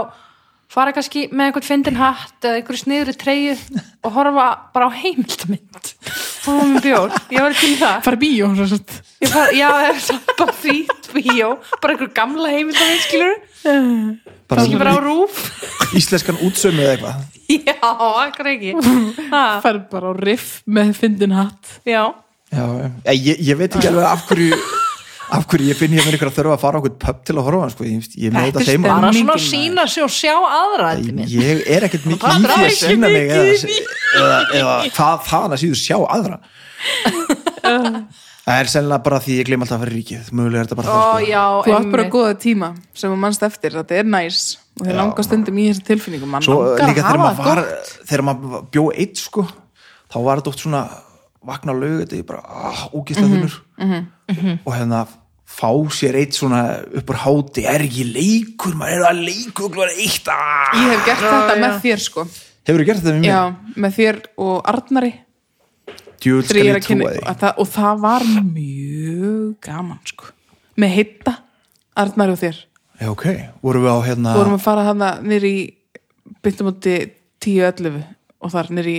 Speaker 2: fara kannski með einhvern fyndin hatt eða einhverju sniðri treyju og horfa bara á heimildamynd og með bjór, ég var til í það
Speaker 3: Fara í bíó, svo sagt.
Speaker 2: Ég far, já, það er samt bara því bíó, bara einhver gamla heimildaminn, skilur
Speaker 1: Bara
Speaker 2: Ég bara á rúf
Speaker 1: íslenskan útsömu eða eitthvað.
Speaker 2: Já, akkur ekki ha,
Speaker 3: fær bara á riff með fyndin hatt
Speaker 2: Já,
Speaker 1: Já, já. ég, ég veit ekki alveg af hverju, af hverju ég finn ég með ykkur að þurfa að fara á einhvern pub til að horfa á hann, sko. Ég, ég með
Speaker 3: Þetta
Speaker 1: þetta
Speaker 3: er
Speaker 1: þeim
Speaker 2: bara
Speaker 1: að...
Speaker 2: svona
Speaker 3: Mikið
Speaker 2: að sína sig og sjá aðra þetta minn
Speaker 1: Ég er ekkert mikið í
Speaker 2: Það
Speaker 1: því
Speaker 2: er
Speaker 1: að
Speaker 2: ekki
Speaker 1: sína mig
Speaker 3: mikið
Speaker 1: eða,
Speaker 3: í því.
Speaker 1: eða, eða hvað þaðan að síður sjá aðra. Það er sennilega bara því ég glem alltaf að fara í ríkið mögulega er þetta bara
Speaker 2: Ó,
Speaker 1: það sko.
Speaker 2: já,
Speaker 3: Þú átt bara
Speaker 2: einmitt.
Speaker 3: góða tíma sem þú mannst eftir, þetta er næs og þeir langa stundum í þessi tilfinningu mann
Speaker 1: Svo
Speaker 3: langar
Speaker 1: líka
Speaker 3: að
Speaker 1: þegar
Speaker 3: hafa
Speaker 1: maður
Speaker 3: það
Speaker 1: var
Speaker 3: gott.
Speaker 1: þegar maður bjó eitt sko þá var þetta oft svona vakna á lögu þetta er bara ah, ógislega
Speaker 3: Mhm,
Speaker 1: þunnur og hérna fá sér eitt svona uppur háti er ekki leikur, maður er að leikur og glóða eitt ah.
Speaker 3: Ég hef gert
Speaker 2: Já,
Speaker 3: þetta
Speaker 2: já.
Speaker 3: með þér sko
Speaker 1: Hefur þú gert þetta með
Speaker 3: Já,
Speaker 1: mér?
Speaker 3: með þér og Arnari
Speaker 1: Djúl
Speaker 3: þegar
Speaker 1: skal
Speaker 3: ég er
Speaker 1: ég
Speaker 3: að
Speaker 1: trúa
Speaker 3: kynna
Speaker 1: því
Speaker 3: að það, og það var mjög gaman sko með heita Arnari og þér
Speaker 1: Já, ok, vorum við á hérna
Speaker 3: vorum að fara hana nýri byttum úti 10-11 og þar nýri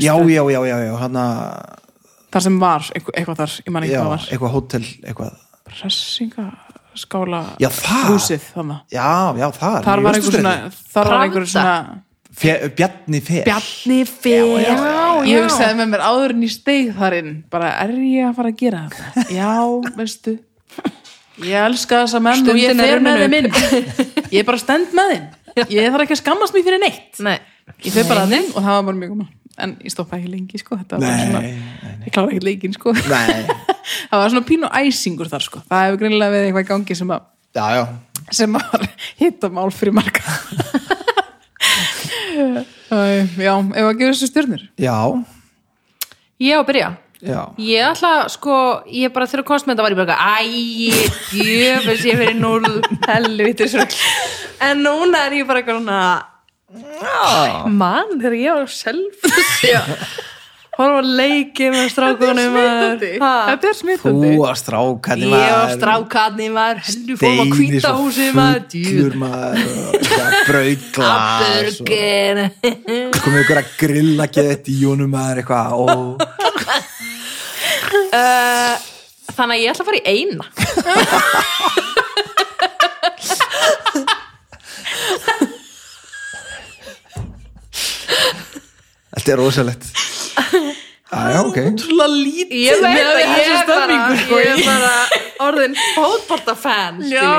Speaker 1: Já, já, já, já, já, hana
Speaker 3: þar sem var eitthvað, eitthvað þar, ég man ekki
Speaker 1: Já,
Speaker 3: hvað var
Speaker 1: eitthvað hótel, eitthvað
Speaker 3: pressinga skála
Speaker 1: Já, það.
Speaker 3: húsið þannig
Speaker 1: Já, já, þar
Speaker 3: þar
Speaker 1: í
Speaker 3: var einhver svona,
Speaker 1: Austurstræti.
Speaker 3: þar var
Speaker 2: Pravda.
Speaker 3: einhver svona
Speaker 1: Fe- Bjarni Fer
Speaker 3: Bjarni Fér
Speaker 1: Já, já,
Speaker 3: ég hugsaði með mér áður en ég steig þar inn bara er ég að fara að gera þetta já, veistu ég elska þessa menn
Speaker 2: Stundin
Speaker 3: og Sko, ég
Speaker 2: er
Speaker 3: fer
Speaker 2: runnin
Speaker 3: með þeim inn
Speaker 2: upp.
Speaker 3: ég er bara stend með þeim ég þarf ekki að skammast mér fyrir neitt
Speaker 2: Nei,
Speaker 3: ég fer bara að þeim og það var bara mjög gaman en ég stoppa ekki lengi sko þetta var bara
Speaker 1: Nei,
Speaker 3: svona, ég klára ekki leikin sko
Speaker 1: Nei.
Speaker 3: það var svona pínu æsingur þar sko það hefur greinilega verið eitthvað í gangi sem að
Speaker 1: Já, já,
Speaker 3: sem var hittamál fyrir marga Æ, Já, ef að gefa þessu stjörnir
Speaker 1: já,
Speaker 2: ég á að byrja
Speaker 1: já
Speaker 2: Ég ætla, sko, ég bara þegar komst með þetta var ég bara eitthvað, æ, djöfus, ég fyrir núl, helvitis rugl." En núna er ég bara eitthvað svona, "Æ, mann, þegar ég var self, já, horfa að leiki með strákunum maður. Ha?
Speaker 3: Þetta er smittandi
Speaker 1: Þú að strákarni
Speaker 2: Ég var strákarni maður, heldur fórum að kvíta húsið maður, djöfus.
Speaker 1: Fullur maður Brautglas
Speaker 2: Hamburger
Speaker 1: Komið ykkur að grilla gett í jónum maður eitthvað Ó,
Speaker 2: uh, Þannig að ég ætla að fara í eina
Speaker 1: Þetta er rosalegt Já, já, ok
Speaker 3: Ótrúlega lítið
Speaker 2: Ég veit
Speaker 3: miðað
Speaker 2: að
Speaker 3: við
Speaker 2: ég
Speaker 3: þessa
Speaker 2: er bara,
Speaker 3: stemmingu, sko.
Speaker 2: ég er bara orðin fótboltafan
Speaker 3: Já,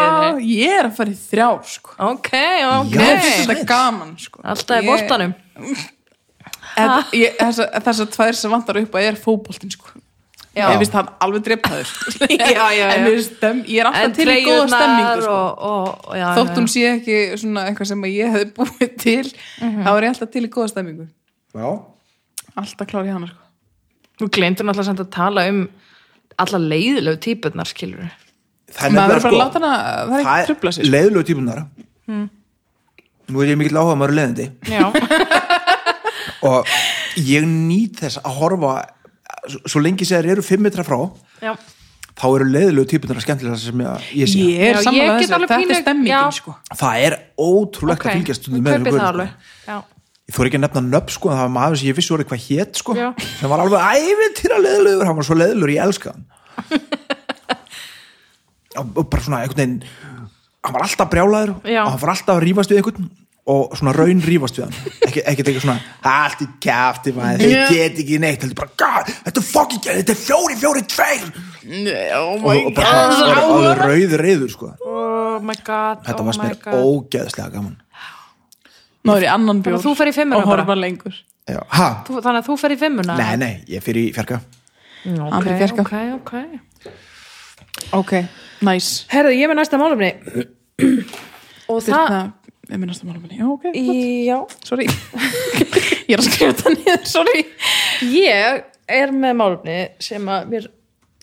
Speaker 3: ég er að fara í þrjá sko.
Speaker 2: Ok, ok
Speaker 1: Já,
Speaker 3: Mér finnst
Speaker 1: shit.
Speaker 3: þetta gaman sko.
Speaker 2: Alltaf í
Speaker 3: Ég-
Speaker 2: boltanum
Speaker 3: En ég- þessa- Þessar tvær sem vantar upp að er fótboltin sko.
Speaker 2: Já.
Speaker 3: Ég finnst hann alveg drepaður sko.
Speaker 2: Já, já,
Speaker 3: En
Speaker 2: já.
Speaker 3: mér stem, ég er alltaf til í góða
Speaker 2: treyjurnar
Speaker 3: stemmingu sko.
Speaker 2: og, og, og, já,
Speaker 3: Þótt hún
Speaker 2: já.
Speaker 3: sé ekki svona eitthvað sem að ég hefði búið til
Speaker 2: Mhm.
Speaker 3: þá er ég alltaf til í góða stemmingu
Speaker 1: Já,
Speaker 3: Alltaf klári hana sko.
Speaker 2: Þú gleymdur náttúrulega samt að tala um alla leiðilegu típurnar skilur
Speaker 1: það
Speaker 3: Maður
Speaker 1: nefnilega,
Speaker 3: er bara að
Speaker 1: sko,
Speaker 3: láta hana, það er ekki að trubla sér sko. Hmm.
Speaker 1: leiðilegu típunar Nú er ég mikill áhuga maður leiðindi
Speaker 2: Já,
Speaker 1: og ég nýt þess að horfa svo- svo lengi sem þeir eru 5 metra frá
Speaker 2: já
Speaker 1: þá eru leiðilegu típunar að skemmtilega sem ég, ég sé
Speaker 3: Ég er
Speaker 2: Já, ég
Speaker 3: sammála
Speaker 2: get
Speaker 3: þessu,
Speaker 2: alveg
Speaker 3: þetta
Speaker 2: pínu-
Speaker 3: er stemmingin
Speaker 2: já.
Speaker 3: sko.
Speaker 1: það er ótrúlegt
Speaker 2: ok,
Speaker 1: að fylgjast
Speaker 2: ég
Speaker 1: stundum með
Speaker 2: kaupi
Speaker 1: þessum
Speaker 2: það
Speaker 1: gaur,
Speaker 2: alveg Já,
Speaker 1: sko. ég þór ekki að nefna nöpp sko en það var maður sem ég vissi orðið hvað hét sko
Speaker 2: Já.
Speaker 1: sem var alveg ævintýra leiðilegur hann var svo leiðilegur, ég elska hann og og bara svona einhvern veginn hann var alltaf brjálaður
Speaker 2: Já.
Speaker 1: og hann var alltaf að rífast við einhvern og svona raun rífast við hann ekki, ekkert eitthvað svona, allt í kæfti maður, þeir
Speaker 3: Já.
Speaker 1: get ekki neitt heldur bara, god, þetta er fucking gæði, þetta er fjóri, fjóri, tveir
Speaker 3: Nei, oh
Speaker 1: og, og bara svona,
Speaker 2: God.
Speaker 1: alveg- alveg rauð reyður sko,
Speaker 2: oh my god
Speaker 1: þetta
Speaker 2: oh
Speaker 1: var
Speaker 2: my
Speaker 1: svona
Speaker 2: god.
Speaker 1: ógeðslega gaman
Speaker 3: Nú er ég annan bjór
Speaker 2: Þannig að þú fer í fimmuna
Speaker 3: og horfa
Speaker 2: bara.
Speaker 3: lengur
Speaker 1: Já, ha,
Speaker 2: Þú- Þannig að þú fer í fimmuna
Speaker 1: nei, nei, ég fyrir í fjarka
Speaker 2: Ok,
Speaker 3: Hann fer í fjarka.
Speaker 2: ok, ok
Speaker 3: Ok, næs
Speaker 2: Herðu, ég er með næsta málumni Og það
Speaker 3: Þa, Ég minnast að mála minni, já ok, í...
Speaker 2: í- Já,
Speaker 3: sorry Ég er að skrifa þetta niður, sorry
Speaker 2: ég er með málumni sem að mér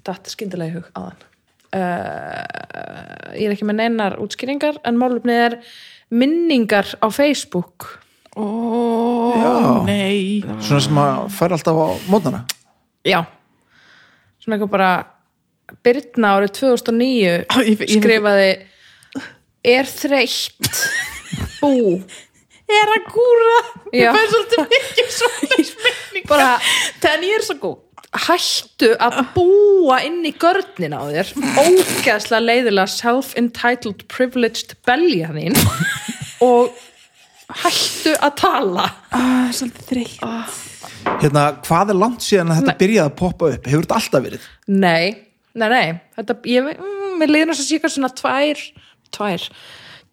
Speaker 2: datt skyndilega í hug aðan uh, Ég er ekki með neinar útskýringar en málumni er minningar á Facebook
Speaker 3: Ó,
Speaker 1: Já.
Speaker 3: nei
Speaker 1: svona sem að fær alltaf á mótnana
Speaker 2: Já Svona eitthvað bara Birna árið 2009
Speaker 3: Á, ég- ég-
Speaker 2: skrifaði Er þreytt Bú
Speaker 3: Ég er að gúra
Speaker 2: Já.
Speaker 3: Ég fæði svolítið mikið svona spenninga
Speaker 2: Bara
Speaker 3: Ten years ago
Speaker 2: hættu að búa inn í görnin á þér ógeðslega leiðilega self-entitled privileged belja þín og hættu að tala
Speaker 3: ah, Svolítið þreytt
Speaker 1: hérna, hvað er langt síðan að þetta byrjaði að poppa upp hefur þetta alltaf verið?
Speaker 2: nei, nei, nei þetta, ég, mm, mér leiðin þess að síka svona tvær tvær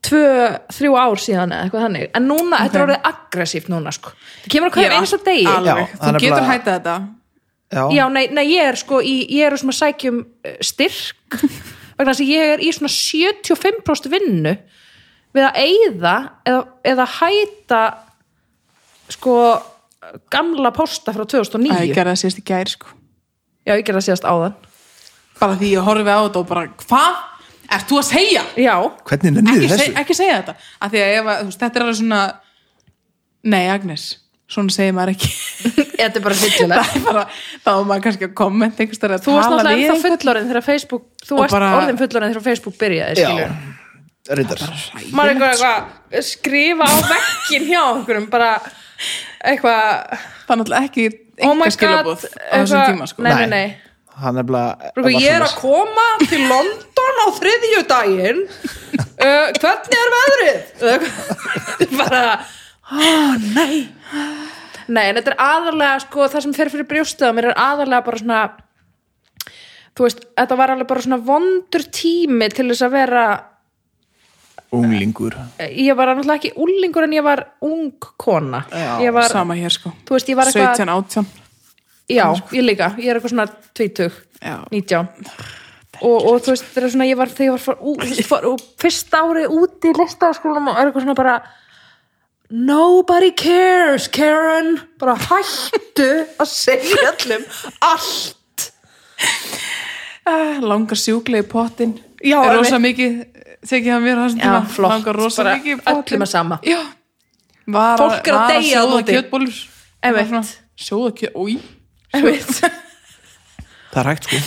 Speaker 2: tvö, þrjú ár síðan eða eitthvað þannig en núna, þetta er orðið aggressíft núna sko. það kemur að hverja einasta degi
Speaker 1: Já,
Speaker 3: Alveg,
Speaker 1: það er
Speaker 3: þú getur
Speaker 1: bara-
Speaker 3: hætað þetta
Speaker 1: já,
Speaker 2: Já, nei, nei, ég er sko í, ég er sem að sækjum eh, styrk vegna þess að ég er í svona 75% vinnu við að eyða eða, eða hæta sko gamla posta frá 2009
Speaker 3: að ég gerði það síðast í gær sko
Speaker 2: Já, ég gerði það síðast áðan
Speaker 3: bara því ég horfi á þetta og bara hvað ert þú að segja?
Speaker 2: Já,
Speaker 1: hvernig nennið
Speaker 3: Ekki,
Speaker 1: þið
Speaker 3: seg,
Speaker 1: þessu?
Speaker 3: ekki segja þetta að því að ef, að, þú veist, þetta er alveg svona nei Agnes, svona segir maður ekki
Speaker 2: þetta er bara fyllilegt
Speaker 3: það er bara, þá er maður kannski að kommenta einhvers þar að
Speaker 2: Þú varst
Speaker 3: tala við
Speaker 2: náttúrulega ennþá
Speaker 3: einhvern.
Speaker 2: fullorinn þegar Facebook Þú
Speaker 3: Og
Speaker 2: varst
Speaker 3: bara-
Speaker 2: orðin fullorinn þegar Facebook byrjaði skilur
Speaker 1: reyndar
Speaker 2: maður eitthvað, eitthvað skrifa á vekkin hjá okkurum bara eitthvað
Speaker 3: það er náttúrulega ekki
Speaker 2: oh my
Speaker 3: einhver
Speaker 2: god
Speaker 3: skilabóð á þessum
Speaker 2: eitthvað-
Speaker 3: tíma sko.
Speaker 2: nei, nei,
Speaker 1: Nei.
Speaker 2: nei
Speaker 1: hann er bara
Speaker 2: Brúku, ég er að koma til London á þriðju daginn uh, hvernig er veðrið Eða eitthvað. bara ó nei nei en þetta er aðalega sko það sem fer fyrir brjóstið á mér er aðalega bara svona þú veist þetta var alveg bara svona vondur tími til þess að vera eh,
Speaker 1: unglingur
Speaker 2: ég var náttúrulega ekki úlingur en ég var ung kona ég var,
Speaker 3: sama hér sko
Speaker 2: þú veist ég var eitthvað
Speaker 3: 17, 18
Speaker 2: já ég líka ég er eitthvað svona 20
Speaker 3: Já.
Speaker 2: 19 og, og þú veist, það er svona, ég var þegar ég var fór, ú, þú veist, fór, og fyrst árið úti í listaskólanum og er eitthvað svona bara nobody cares Karen, bara hættu að segja öllum allt
Speaker 3: Ah, langar sjúklega í pottin
Speaker 2: Já,
Speaker 3: rosa
Speaker 2: einmitt.
Speaker 3: mikið tekið hann mér á þessum
Speaker 2: Já,
Speaker 3: tíma
Speaker 2: flott.
Speaker 3: langar rosa
Speaker 2: Bara
Speaker 3: mikið í pottin
Speaker 2: öllum er sama.
Speaker 3: já, var,
Speaker 2: Fólk er að
Speaker 3: var
Speaker 2: deyja
Speaker 3: sjóða
Speaker 2: þarna úti.
Speaker 3: kjötbólur
Speaker 2: Einmitt.
Speaker 3: Var svona, sjóða kjötbólur
Speaker 2: einmitt,
Speaker 1: það er hægt sko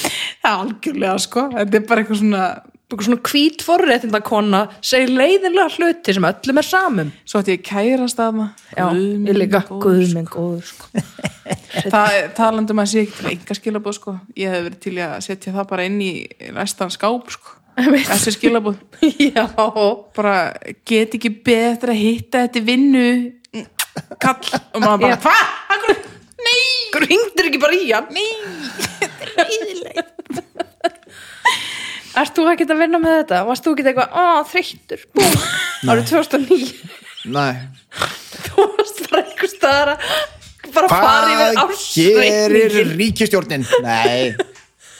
Speaker 3: það er algjörlega sko þetta er bara eitthvað svona
Speaker 2: eitthvað svona hvít forréttinda kona segir leiðinlega hluti sem öllum er samum
Speaker 3: svo ætti ég kærast að maður
Speaker 2: já, ég líka, guðminn góður sko.
Speaker 3: það talandi um að sé ekki til enga skilabóð sko ég hef verið til í að setja það bara inn í vestan skáp sko
Speaker 2: Einmitt.
Speaker 3: þessi skilabóð
Speaker 2: já,
Speaker 3: bara get ekki betra að hitta þetta í vinnu kall og maður bara
Speaker 2: Já.
Speaker 3: hvað?
Speaker 2: hvernig hringdir ekki bara í hann nei, þetta er leiðilegt Erst þú ekki að vinna með þetta? Varst þú ekki eitthvað, á, þreyttur, búm, árið 2009
Speaker 1: Nei.
Speaker 2: þú varst bara einhver staðar að bara fara yfir
Speaker 1: hvað gerir
Speaker 2: ástreikningin
Speaker 1: ríkistjórnin? Nei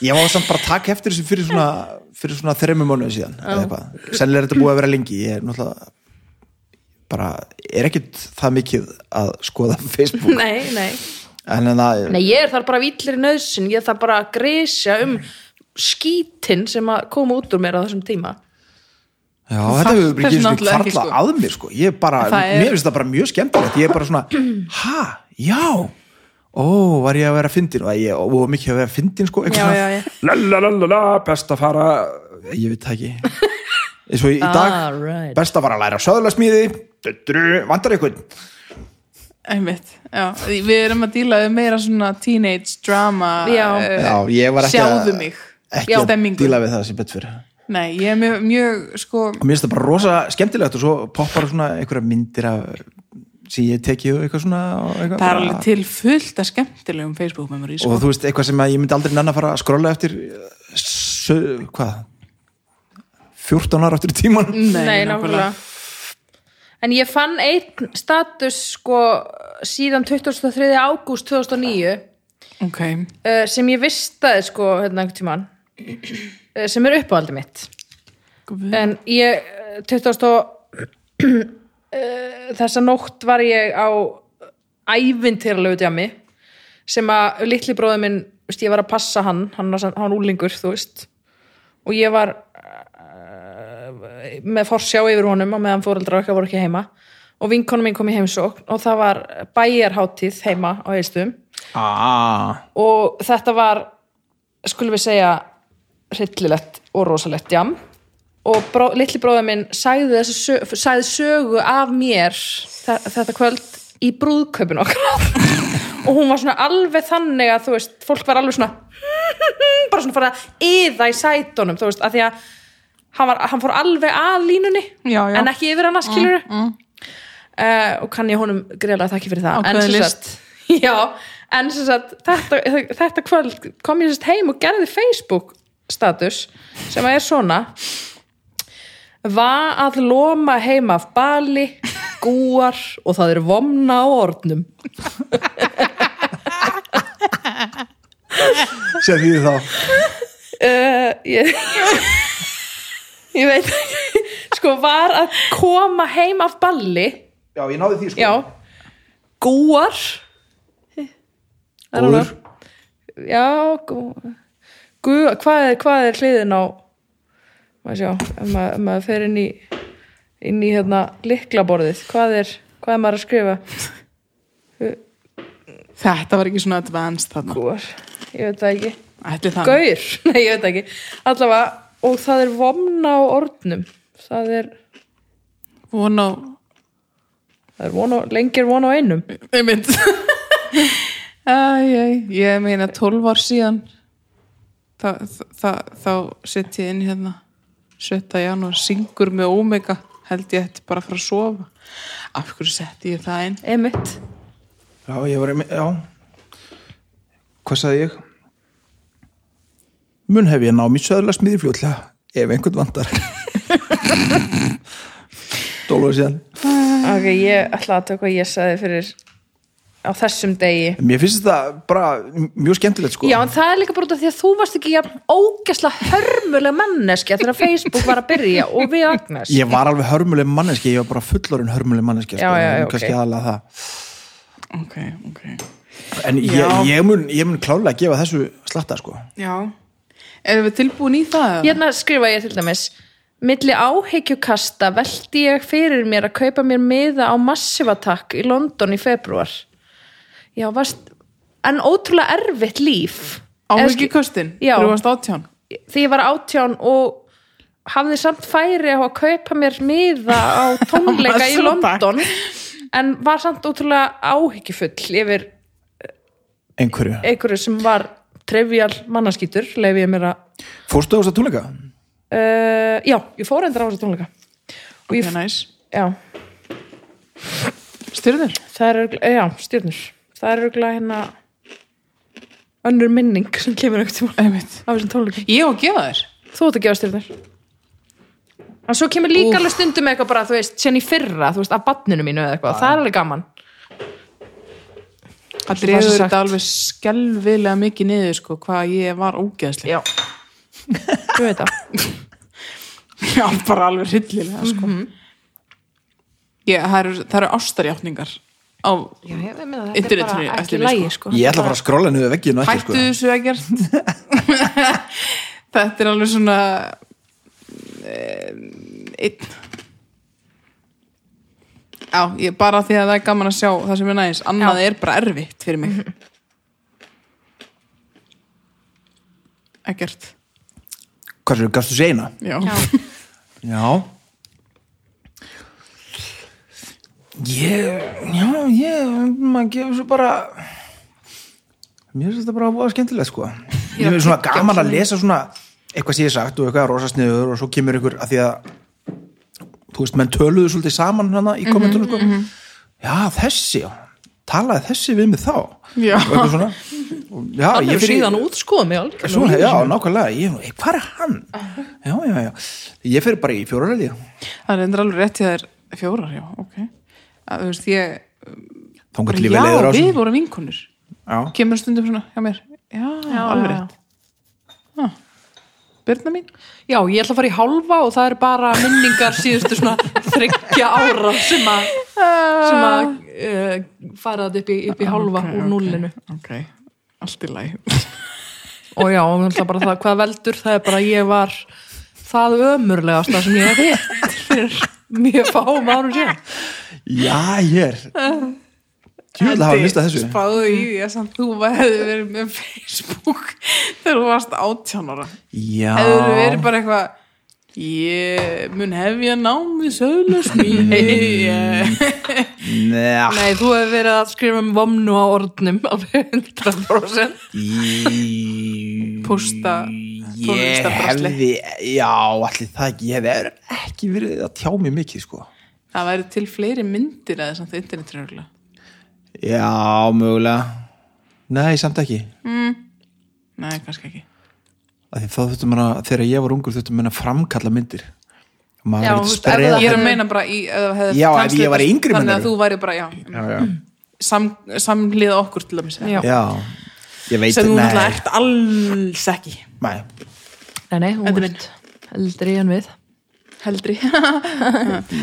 Speaker 1: ég var samt bara að taka eftir þessu fyrir svona, fyrir svona þremmu mánuðu síðan eða eitthvað. sennilega er þetta búið að vera lengi ég er náttúrulega bara, er ekkit það mikið að skoða Facebook
Speaker 2: Nei, nei,
Speaker 1: en hérna, en það,
Speaker 2: nei, ég er þar bara villir í nöðsin, ég er þar bara að grisja um skítin sem að koma út úr mér á þessum tíma
Speaker 1: já, þetta hefur bara
Speaker 3: þarft
Speaker 1: ekki einu sinni
Speaker 3: náttúrulega ekki,
Speaker 1: hvarflað
Speaker 3: sko.
Speaker 1: að mér sko, ég er bara,
Speaker 3: Það er-
Speaker 1: mér finnst það bara mjög skemmtilegt ég er bara svona, ha, já ó, var ég að vera fyndin og ég, ó, mikið að vera fyndin sko eitthvað
Speaker 2: Já,
Speaker 1: svona.
Speaker 2: já, já
Speaker 1: lalalala, best að fara ég veit það ekki eins og í dag,
Speaker 2: right.
Speaker 1: best að fara að læra söðlasmíði, vandar ykkur
Speaker 3: Einmitt, já, við erum að díla við meira svona teenage drama
Speaker 2: Já.
Speaker 3: eh,
Speaker 1: já, ég var ekki
Speaker 3: sjáðu mig
Speaker 1: ekki
Speaker 3: Já,
Speaker 1: að
Speaker 3: stemmingu.
Speaker 1: díla við það sem betur fyrir og
Speaker 3: Nei, ég er mjög, mjög sko
Speaker 1: mér finnst það bara rosa skemmtilegt og svo poppar svona einhverja myndir af sem ég tekið og eitthvað svona og, eitthvað
Speaker 3: það er
Speaker 1: bara-
Speaker 3: alveg til fullt af skemmtilegum Facebook memory sko.
Speaker 1: og þú veist, eitthvað sem að ég myndi aldrei nenn að fara að skrolla eftir eh, sö, hvað 14 ára eftir tíman
Speaker 2: Nei, nákvæmlega En ég fann einn status sko síðan 23. ágúst 2009
Speaker 3: Ok,
Speaker 2: uh, sem ég vistaði sko hérna einhvern tímann uh, sem er uppáhaldið mitt
Speaker 3: Guð.
Speaker 2: en ég eh, 20. og Eh, þessa nótt var ég á ævintýralegu djami sem að litli bróður minn þú veist, ég var að passa hann, hann var, sam- hann var úlingur þú veist og ég var eh, með forsjá yfir honum á meðan fóreldrar okkar voru ekki heima og vinkonum minn kom í heimsókn og það var bæjarháttíð heima á heilstum
Speaker 1: ah,
Speaker 2: og þetta var skulum við segja hryllilegt og rosalegt jam og bró, litli bróður minn sagði, þessu sög, sagði sögu af mér þe- þetta kvöld í brúðkaupin okkar og hún var svona alveg þannig að þú veist, fólk var alveg svona bara svona fara að yða í sætunum þú veist, að því að hann, var, hann fór alveg að línunni
Speaker 3: Já, já.
Speaker 2: en ekki yfir hann að skilur mm, Eh, og kann ég honum greiðlega þakki fyrir það
Speaker 3: Ákveðin
Speaker 2: sem
Speaker 3: list.
Speaker 2: sagt- já, en sem sagt þetta, þetta kvöld kom ég sérst heim og gerði Facebook status sem er svona var að lóma heima af bali gúar og það er vomna á ornum
Speaker 1: sem því þá
Speaker 4: uh, ég, ég veit ekki. sko var að koma heim af balli
Speaker 1: já, ég náði því sko
Speaker 4: já, gúar I don't
Speaker 1: Góður.
Speaker 4: know. já gú, gú, hvað, er, hvað er hliðin á maður sjá ef maður, ef maður fer inn í inn í hérna liklaborðið hvað er, hvað er maður að skrifa
Speaker 3: Þetta var ekki svona advanced þarna.
Speaker 4: gúar, ég veit það ekki
Speaker 3: Ætli það.
Speaker 4: Gaur, nei ég veit ekki Allavega, og það er vomna á ornum Það er,
Speaker 3: Von á,
Speaker 4: það er von á, lengir von á einum
Speaker 3: ég mynd. Æj, æj, ég meina 12 ár síðan. Þa, þa, þa, þá sett ég inn hérna 7. janúar, syngur með Omega, held ég ætti bara að fara að sofa. Af hverju setti ég það inn?
Speaker 4: Einmitt
Speaker 1: já, ég var einmitt, já hvað sagði ég mun hef ég námi söðla smiði fljótlega ef einhvern vandar dólaði síðan
Speaker 4: Ok, ég ætla að taka hvað ég sagði fyrir á þessum degi
Speaker 1: mér finnst þetta bara mjög skemmtilegt sko
Speaker 2: Já, en það er líka bara út af því að þú varst ekki jafn ógesla hörmuleg manneskja þegar Facebook var að byrja og við Agnes
Speaker 1: ég var alveg hörmuleg manneski, ég var bara fullorinn hörmuleg manneski sko,
Speaker 4: Já, já, já,
Speaker 1: en kannski
Speaker 4: ok.
Speaker 1: aðalega það
Speaker 3: Ok, ok.
Speaker 1: En ég,
Speaker 3: Já.
Speaker 1: ég, mun, ég mun klálega gefa þessu slatta sko.
Speaker 3: Já. Erum við tilbúin í það? eða?
Speaker 2: Hérna skrifa ég til dæmis Milli áhyggjukasta velti ég fyrir mér að kaupa mér miða á Massive Attack í London í februar Já, varst en ótrúlega erfitt líf
Speaker 3: Áhengi kostin?
Speaker 2: Já.
Speaker 3: Þú varst átján?
Speaker 2: Því ég var átján og hafði samt færi á að kaupa mér miða á tónleika í
Speaker 3: Massive Attack.
Speaker 2: London en var samt ótrúlega áhyggjufull yfir
Speaker 1: einhverju.
Speaker 2: einhverju sem var trivial mannaskýtur, leif ég mér að
Speaker 1: Fórstu á þessa tónleika?
Speaker 2: uh, já, ég fór endur á þessu tónleika og ég,
Speaker 3: Ok, næs.
Speaker 2: já,
Speaker 3: Styrður?
Speaker 2: það er örugglega- eh, já, stjórnur það er örgulega hérna önnur minning sem kemur aukt á
Speaker 3: Einmitt.
Speaker 2: þessum tónleikum,
Speaker 3: Ég á að gefa þér.
Speaker 2: þú ert að gefa stjórnur en svo kemur líka alveg stundum eitthvað bara, þú veist, sen í fyrra þú veist, af badninu mínu eða eitthvað, það er alveg gaman
Speaker 3: Það
Speaker 2: var
Speaker 3: drefur
Speaker 2: svo sagt.
Speaker 3: þetta alveg skelvilega mikið niður sko, hvað ég var ógeðslega.
Speaker 2: já þú veit það
Speaker 3: Já, bara alveg hryllilega sko. ég, það, eru, það eru ástarjátningar á
Speaker 2: Já, ég meina, þetta er
Speaker 3: Internetinu
Speaker 2: bara
Speaker 3: eftir
Speaker 2: ekki
Speaker 3: mig,
Speaker 2: lægi sko.
Speaker 1: Ég ætla bara að skrolla niður vegginu eftir
Speaker 3: hættu
Speaker 1: sko.
Speaker 3: þessu að gert. þetta er alveg svona eh, einn Já, ég, bara því að það er gaman að sjá það sem er næs, annað er bara erfitt fyrir mig Ekkert
Speaker 1: Hvað sér, gastu segna?
Speaker 3: Já,
Speaker 1: Já. Ég, já, ég, maður gefur svo bara, mér finnst þetta bara að búa skemmtilegt sko. Ég finnst svona gaman að lesa svona eitthvað sem ég hef sagt og eitthvað rosasniður og svo kemur ykkur að því að, þú veist, menn töluðu svolítið saman hana í kommentunum sko. Já, þessi, já. talaði þessi við mig þá.
Speaker 3: Já.
Speaker 1: Og eitthvað svona. Og, Já,
Speaker 2: hann
Speaker 1: ég
Speaker 2: er
Speaker 1: fyrir-
Speaker 2: síðan út sko mjög
Speaker 1: Svo, já, nákvæmlega, ég, hey, hvað er hann? Já, já, já, ég fyrir bara í fjóraræði
Speaker 3: það er endur alveg rétt í þær fjórar, já, ok að, Þú veist, ég
Speaker 1: Þangar til ég
Speaker 3: Já,
Speaker 1: vel eður á
Speaker 3: við
Speaker 1: þessu
Speaker 3: vorum vinkonur
Speaker 1: Já,
Speaker 3: Kemur stundum svona hjá mér Já,
Speaker 2: já,
Speaker 3: alveg rétt já. Birna mín
Speaker 2: Já, ég ætla að fara í hálfa og það eru bara minningar síðustu svona þryggja ára sem að, sem að uh, fara þetta upp í, upp í hálfa
Speaker 3: Ah, Ok,
Speaker 2: úr
Speaker 3: ok,
Speaker 2: núllinu.
Speaker 3: Ok, allt í læg
Speaker 2: Og já, og náttúrulega bara það, hvað veldur, það er bara að ég var það ömurlegasta sem ég hef hitt fyrir mjög fáum árum síðan.
Speaker 1: já ég er Tjóðlega hafa mistað þessu
Speaker 3: Spáðu í því að samt þú hefði verið með Facebook þegar þú varst átján ára
Speaker 1: Já,
Speaker 3: Hefði verið bara eitthvað Ég mun hefja námi söðlusmíði
Speaker 1: Mm,
Speaker 3: yeah.
Speaker 1: neða
Speaker 2: Nei, þú hefur verið að skrifa um vomnu á orðnum alveg 100%.
Speaker 3: Pósta
Speaker 1: Ég
Speaker 3: tónlistabrasli.
Speaker 1: hefði, já, allir það ekki Ég hefði ekki verið að tjá mig mikið sko
Speaker 3: Það væri til fleiri myndir að þess að internetrögla
Speaker 1: Já, mögulega Nei, samt ekki
Speaker 3: Nei, kannski ekki
Speaker 1: Af því Þá þurftum maður að, þegar ég var ungur þurftum maður að framkalla myndir Maður
Speaker 2: Já,
Speaker 1: var
Speaker 2: þú
Speaker 1: ekkert
Speaker 2: veist, ef
Speaker 1: spreða
Speaker 2: það
Speaker 3: Ég er að meina bara í ef það hefði
Speaker 1: Já, ef
Speaker 3: kannski
Speaker 1: ég væri
Speaker 3: bara-
Speaker 1: yngri,
Speaker 3: Þannig að
Speaker 1: meinarðu?
Speaker 3: þú væri bara, já,
Speaker 1: já, já.
Speaker 3: sam, samliða okkur til að missa
Speaker 2: Já.
Speaker 1: já Ég veit,
Speaker 3: sem
Speaker 1: nei.
Speaker 3: þú náttúrulega ert alls ekki
Speaker 1: Nei,
Speaker 2: Nei, nei, hún
Speaker 3: Þetta er
Speaker 2: er
Speaker 3: minn.
Speaker 2: eldri en við.
Speaker 3: heldri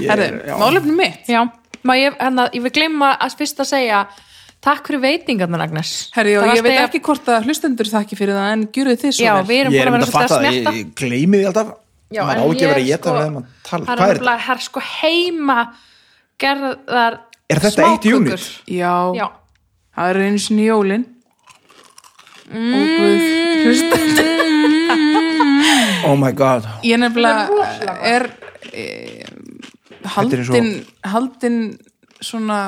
Speaker 3: Herðu, málefnum mitt
Speaker 2: Já, má ég, hérna, ég vil glemma að fyrst að segja takk fyrir veitingarnar, Agnes. Það
Speaker 3: Herri, og ég
Speaker 2: varst
Speaker 3: veit
Speaker 2: eiga-
Speaker 3: ekki hvort að hlustendur þakki fyrir það en gjöruð þið svo
Speaker 2: Já,
Speaker 3: vel
Speaker 2: við erum
Speaker 1: ég er
Speaker 2: búin að vera
Speaker 1: mynd að
Speaker 2: svolítið
Speaker 1: fatta
Speaker 2: að
Speaker 1: það,
Speaker 2: smetta.
Speaker 1: ég, ég gleymi því alltaf
Speaker 2: Já,
Speaker 1: maður á
Speaker 2: en
Speaker 1: ekki að vera að
Speaker 2: ég,
Speaker 1: geta
Speaker 2: sko,
Speaker 1: meðan maður tala
Speaker 2: Það
Speaker 1: Hvað
Speaker 2: er
Speaker 1: er þetta?
Speaker 2: nefnilega, herr sko heima gerðar
Speaker 1: Er þetta eitt
Speaker 2: smákökur.
Speaker 1: unit?
Speaker 3: Já,
Speaker 2: Já,
Speaker 3: það eru einu sinni jólin mm. og guð hlustendur
Speaker 1: Oh my god
Speaker 3: ég nefnilega er e,
Speaker 1: Þetta er eins og-
Speaker 3: haldin haldin svona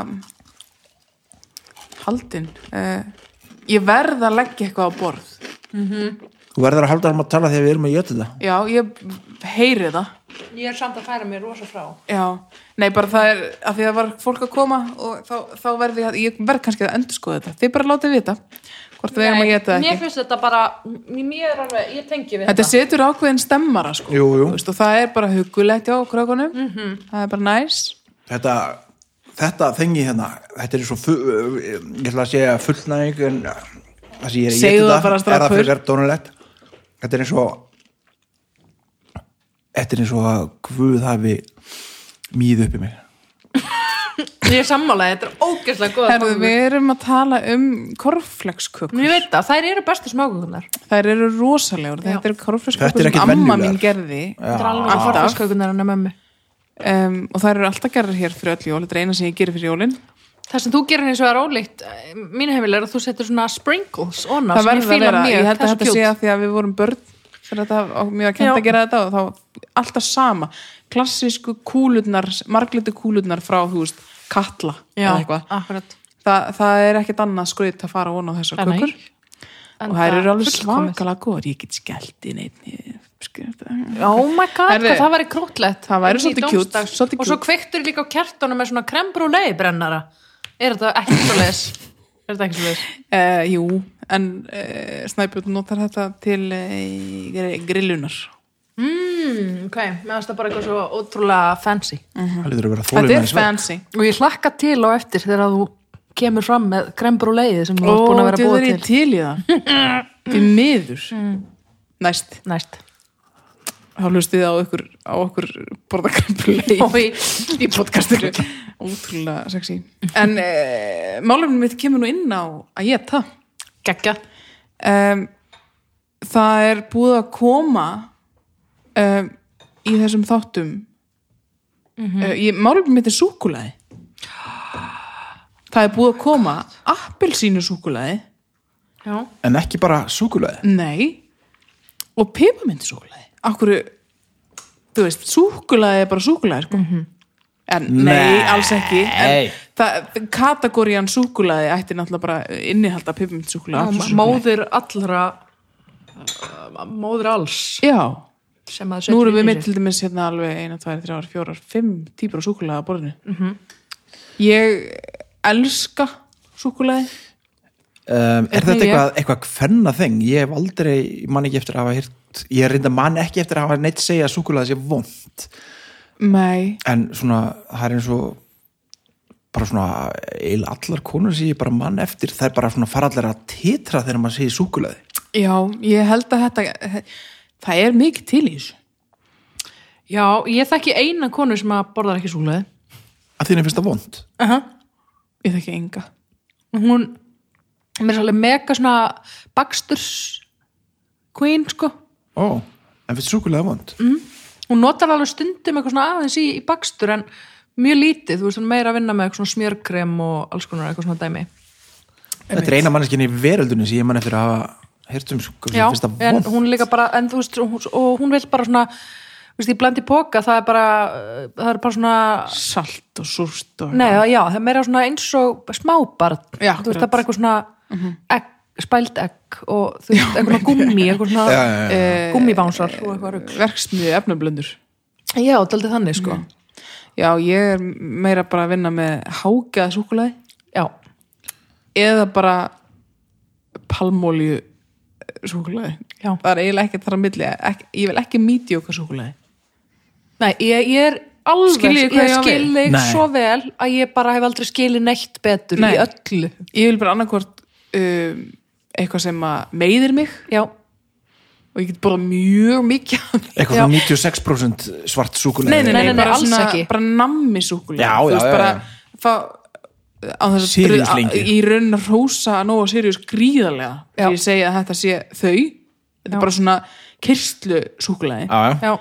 Speaker 3: haldin e, ég verð að leggja eitthvað á borð
Speaker 1: Þú verður að halda um að tala þegar við erum að geta þetta
Speaker 3: já, ég heyri það
Speaker 2: ég er samt að færa mér rosa frá.
Speaker 3: já, nei bara það er að því að var fólk að koma og þá, þá verði ég, ég verð kannski að endurskoða þetta þið bara látið vita hvort við erum að geta
Speaker 2: Mér
Speaker 3: ekki
Speaker 2: finnst þetta bara, mér er alveg, ég tengi við
Speaker 3: þetta
Speaker 2: þetta.
Speaker 3: setur ákveðin stemmara sko
Speaker 1: Jú, jú.
Speaker 3: Þú Veist, og það er bara hugulegt hjá krökunum
Speaker 2: Mhm.
Speaker 3: það er bara næs
Speaker 1: Þetta, þetta þengi hérna Þetta er svo fu, Ég ætla að segja fullnæg en það sem ég er að
Speaker 3: Segðu
Speaker 1: geta
Speaker 3: það
Speaker 1: Er
Speaker 3: bara
Speaker 1: það
Speaker 3: strákur.
Speaker 1: fyrir dónulegt Þetta er eins og Þetta er eins og að Guð hafi mýð upp í mig
Speaker 2: Ég er sammálaðið, þetta er ógeðslega góð.
Speaker 3: Herðu, við erum að tala um korflekskökur
Speaker 2: Ég veit það, þær eru bestu smákökunar.
Speaker 3: Þær eru rosalegur, þetta eru
Speaker 1: Þetta
Speaker 3: korflekskökur
Speaker 1: eru
Speaker 3: sem
Speaker 1: ekkert
Speaker 3: amma
Speaker 1: venjulegar.
Speaker 3: mín gerði
Speaker 2: Þetta er alveg
Speaker 3: Alltaf.
Speaker 2: korfiskökunar en að mömmu.
Speaker 3: um, og þær eru alltaf gerðar hér fyrir öll jól þetta er eina sem ég gerir fyrir jólin
Speaker 2: Það sem þú gerir eins og er ólíkt, eh, mínu heimil er að þú setur svona sprinkles onna
Speaker 3: það
Speaker 2: sem ég
Speaker 3: verður að
Speaker 2: fíla
Speaker 3: vera,
Speaker 2: mjög.
Speaker 3: ég held
Speaker 2: það
Speaker 3: að
Speaker 2: er
Speaker 3: þetta
Speaker 2: svo
Speaker 3: sé
Speaker 2: cute.
Speaker 3: að því að við vorum börn fyrir þetta og mjög að kenda
Speaker 2: Já.
Speaker 3: að gera þetta og þá alltaf sama, klassísku kúlurnar marglitu kúlurnar frá þú veist, katla eða
Speaker 2: Já,
Speaker 3: eitthvað
Speaker 2: akkurat.
Speaker 3: Þa, það er ekkert annað skröyt að fara vona á þessar
Speaker 2: Nei.
Speaker 3: kökur og
Speaker 2: Enda
Speaker 3: þær eru alveg
Speaker 2: fullkomið.
Speaker 3: svakalega góður ég get skellt inn einn skröyt
Speaker 2: Oh my god,
Speaker 3: Herri,
Speaker 2: hvað það væri krótlegt
Speaker 3: það væri
Speaker 2: Inn í
Speaker 3: svolítið cute,
Speaker 2: dómsdag.
Speaker 3: svolítið
Speaker 2: Og svo
Speaker 3: cute.
Speaker 2: kveiktur líka á kertunum með svona krembrúlei brennara Er þetta ekki svo leis? Er þetta ekki svo leis?
Speaker 3: Uh, jú, en uh, Snæbjörn notar þetta til uh, grillunar.
Speaker 2: Mm, ok, mér finnst það bara eitthvað svo ótrúlega fancy
Speaker 1: Það lítur að vera
Speaker 3: Þetta er
Speaker 1: þólimaðis
Speaker 3: fancy.
Speaker 2: Og ég hlakka til og eftir þegar þú kemur fram með krembrúleiði sem þú
Speaker 3: Ó,
Speaker 2: ert búin að vera
Speaker 3: þetta
Speaker 2: búið
Speaker 3: er
Speaker 2: til
Speaker 3: ég
Speaker 2: Mm.
Speaker 3: til í það. Því miður. Næst,
Speaker 2: Næst
Speaker 3: þá hlustið á okkur, á okkur borðakrempulei
Speaker 2: Í, í
Speaker 3: podcastinu. Ótrúlega sexy. En uh, málefnum mitt kemur nú inn á að ég það.
Speaker 2: Gekja
Speaker 3: um, það er búið að koma um, í þessum þáttum mm -hmm. uh, málum mitt er súkulaði það er búið að koma appelsínu súkulaði
Speaker 2: Já,
Speaker 1: En ekki bara súkulega
Speaker 3: nei og pipamindi súkulaði akkur þú veist, súkulaði er bara súkulaði sko. en nei,
Speaker 1: Nei.
Speaker 3: alls ekki en það, kategórian súkulaði ætti náttúrulega bara innihalda pipamindi súkulaði
Speaker 2: móðir allra uh, Móðir alls
Speaker 3: já
Speaker 2: sem að
Speaker 3: Nú erum
Speaker 2: setur í
Speaker 3: við með
Speaker 2: sig.
Speaker 3: til dæmis hérna alveg 1, 2, 3, 4, 5 típur af súkulega á borðinu. Ég elska súkulega.
Speaker 1: Um, er
Speaker 3: Einnig
Speaker 1: þetta
Speaker 3: ég.
Speaker 1: eitthvað, eitthvað kvenna þeng? Ég hef aldrei, ég man ekki eftir að hafa hýrt, ég reynda man ekki eftir að hafa neitt segja að súkulega sé vond
Speaker 3: Nei,
Speaker 1: en svona, það er eins og bara svona eiginlega allar konur sem ég bara man eftir það er bara svona fara allar að titra þegar maður segir súkulega
Speaker 3: já, ég held að þetta, það er mikið til í þessu.
Speaker 2: Já, ég þekki eina konu sem að borðar ekki súleði
Speaker 1: að því henni finnst það vond
Speaker 3: Ég þekki enga.
Speaker 2: hún mér er svolítið mega svona baksturs queen sko
Speaker 1: Ó, en finnst súkulega vond?
Speaker 2: hún notar alveg stundum eitthvað svona aðeins í, í bakstur en mjög lítið, þú veist hún er meira að vinna með eitthvað svona smjörkrem og alls konar eitthvað svona dæmi
Speaker 1: Þetta er eina manneskinni í veröldunni sem ég man eftir að hafa hýrt um súkulega
Speaker 2: Já,
Speaker 1: sem finnst það
Speaker 2: en
Speaker 1: vond
Speaker 2: hún líka bara en þú veist, hún, og hún vil bara svona þú veist, í blandi póka, það er bara uh, það er bara svona
Speaker 3: Salt og súrt og...
Speaker 2: Nei, já, það er meira svona eins og smábarn,
Speaker 3: Já,
Speaker 2: þú veist, það
Speaker 3: akkurat.
Speaker 2: er bara eitthvað svona egg, spæld egg og þú veist, eitthvað gummi, eitthvað svona eh,
Speaker 1: Já, já, já, já.
Speaker 2: gummibánsar og eitthvað rugg
Speaker 3: Verksmiði efnablöndur.
Speaker 2: Já, daldið þannig sko
Speaker 3: Já, ég er meira bara að vinna með hágæða súkulega
Speaker 2: Já,
Speaker 3: eða bara palmolju súkulega.
Speaker 2: Já.
Speaker 3: Það er eiginlega ekki þar að milli. Ekki, ég vil ekki mítjóka súkulega.
Speaker 2: nei, ég, ég er alveg
Speaker 3: Skiljið hvað ég á
Speaker 2: ég skil
Speaker 3: við?
Speaker 2: þig
Speaker 1: Nei.
Speaker 2: svo vel að ég bara hef aldrei skilið neitt betur
Speaker 3: Nei.
Speaker 2: í öllu
Speaker 3: ég vil bara annarkvort um, eitthvað sem að meiðir mig
Speaker 2: já,
Speaker 3: og ég get borðað mjög mikið af því.
Speaker 1: eitthvað
Speaker 2: Já.
Speaker 1: svona 96% svart súkulega
Speaker 3: nei, nei, nei,
Speaker 2: nei,
Speaker 3: bara
Speaker 2: alls
Speaker 3: svona,
Speaker 2: ekki.
Speaker 3: bara nammi súkulega
Speaker 1: Já, já, já,
Speaker 3: bara,
Speaker 1: já.
Speaker 3: Fá, á þess að
Speaker 1: Sirius
Speaker 3: að-
Speaker 1: lengi.
Speaker 3: í raun að rósa að nóga Sirius gríðarlega
Speaker 2: Já.
Speaker 3: þegar ég segi að þetta sé þau þetta er bara svona kyrstlu súkulega
Speaker 1: já, já.
Speaker 2: já,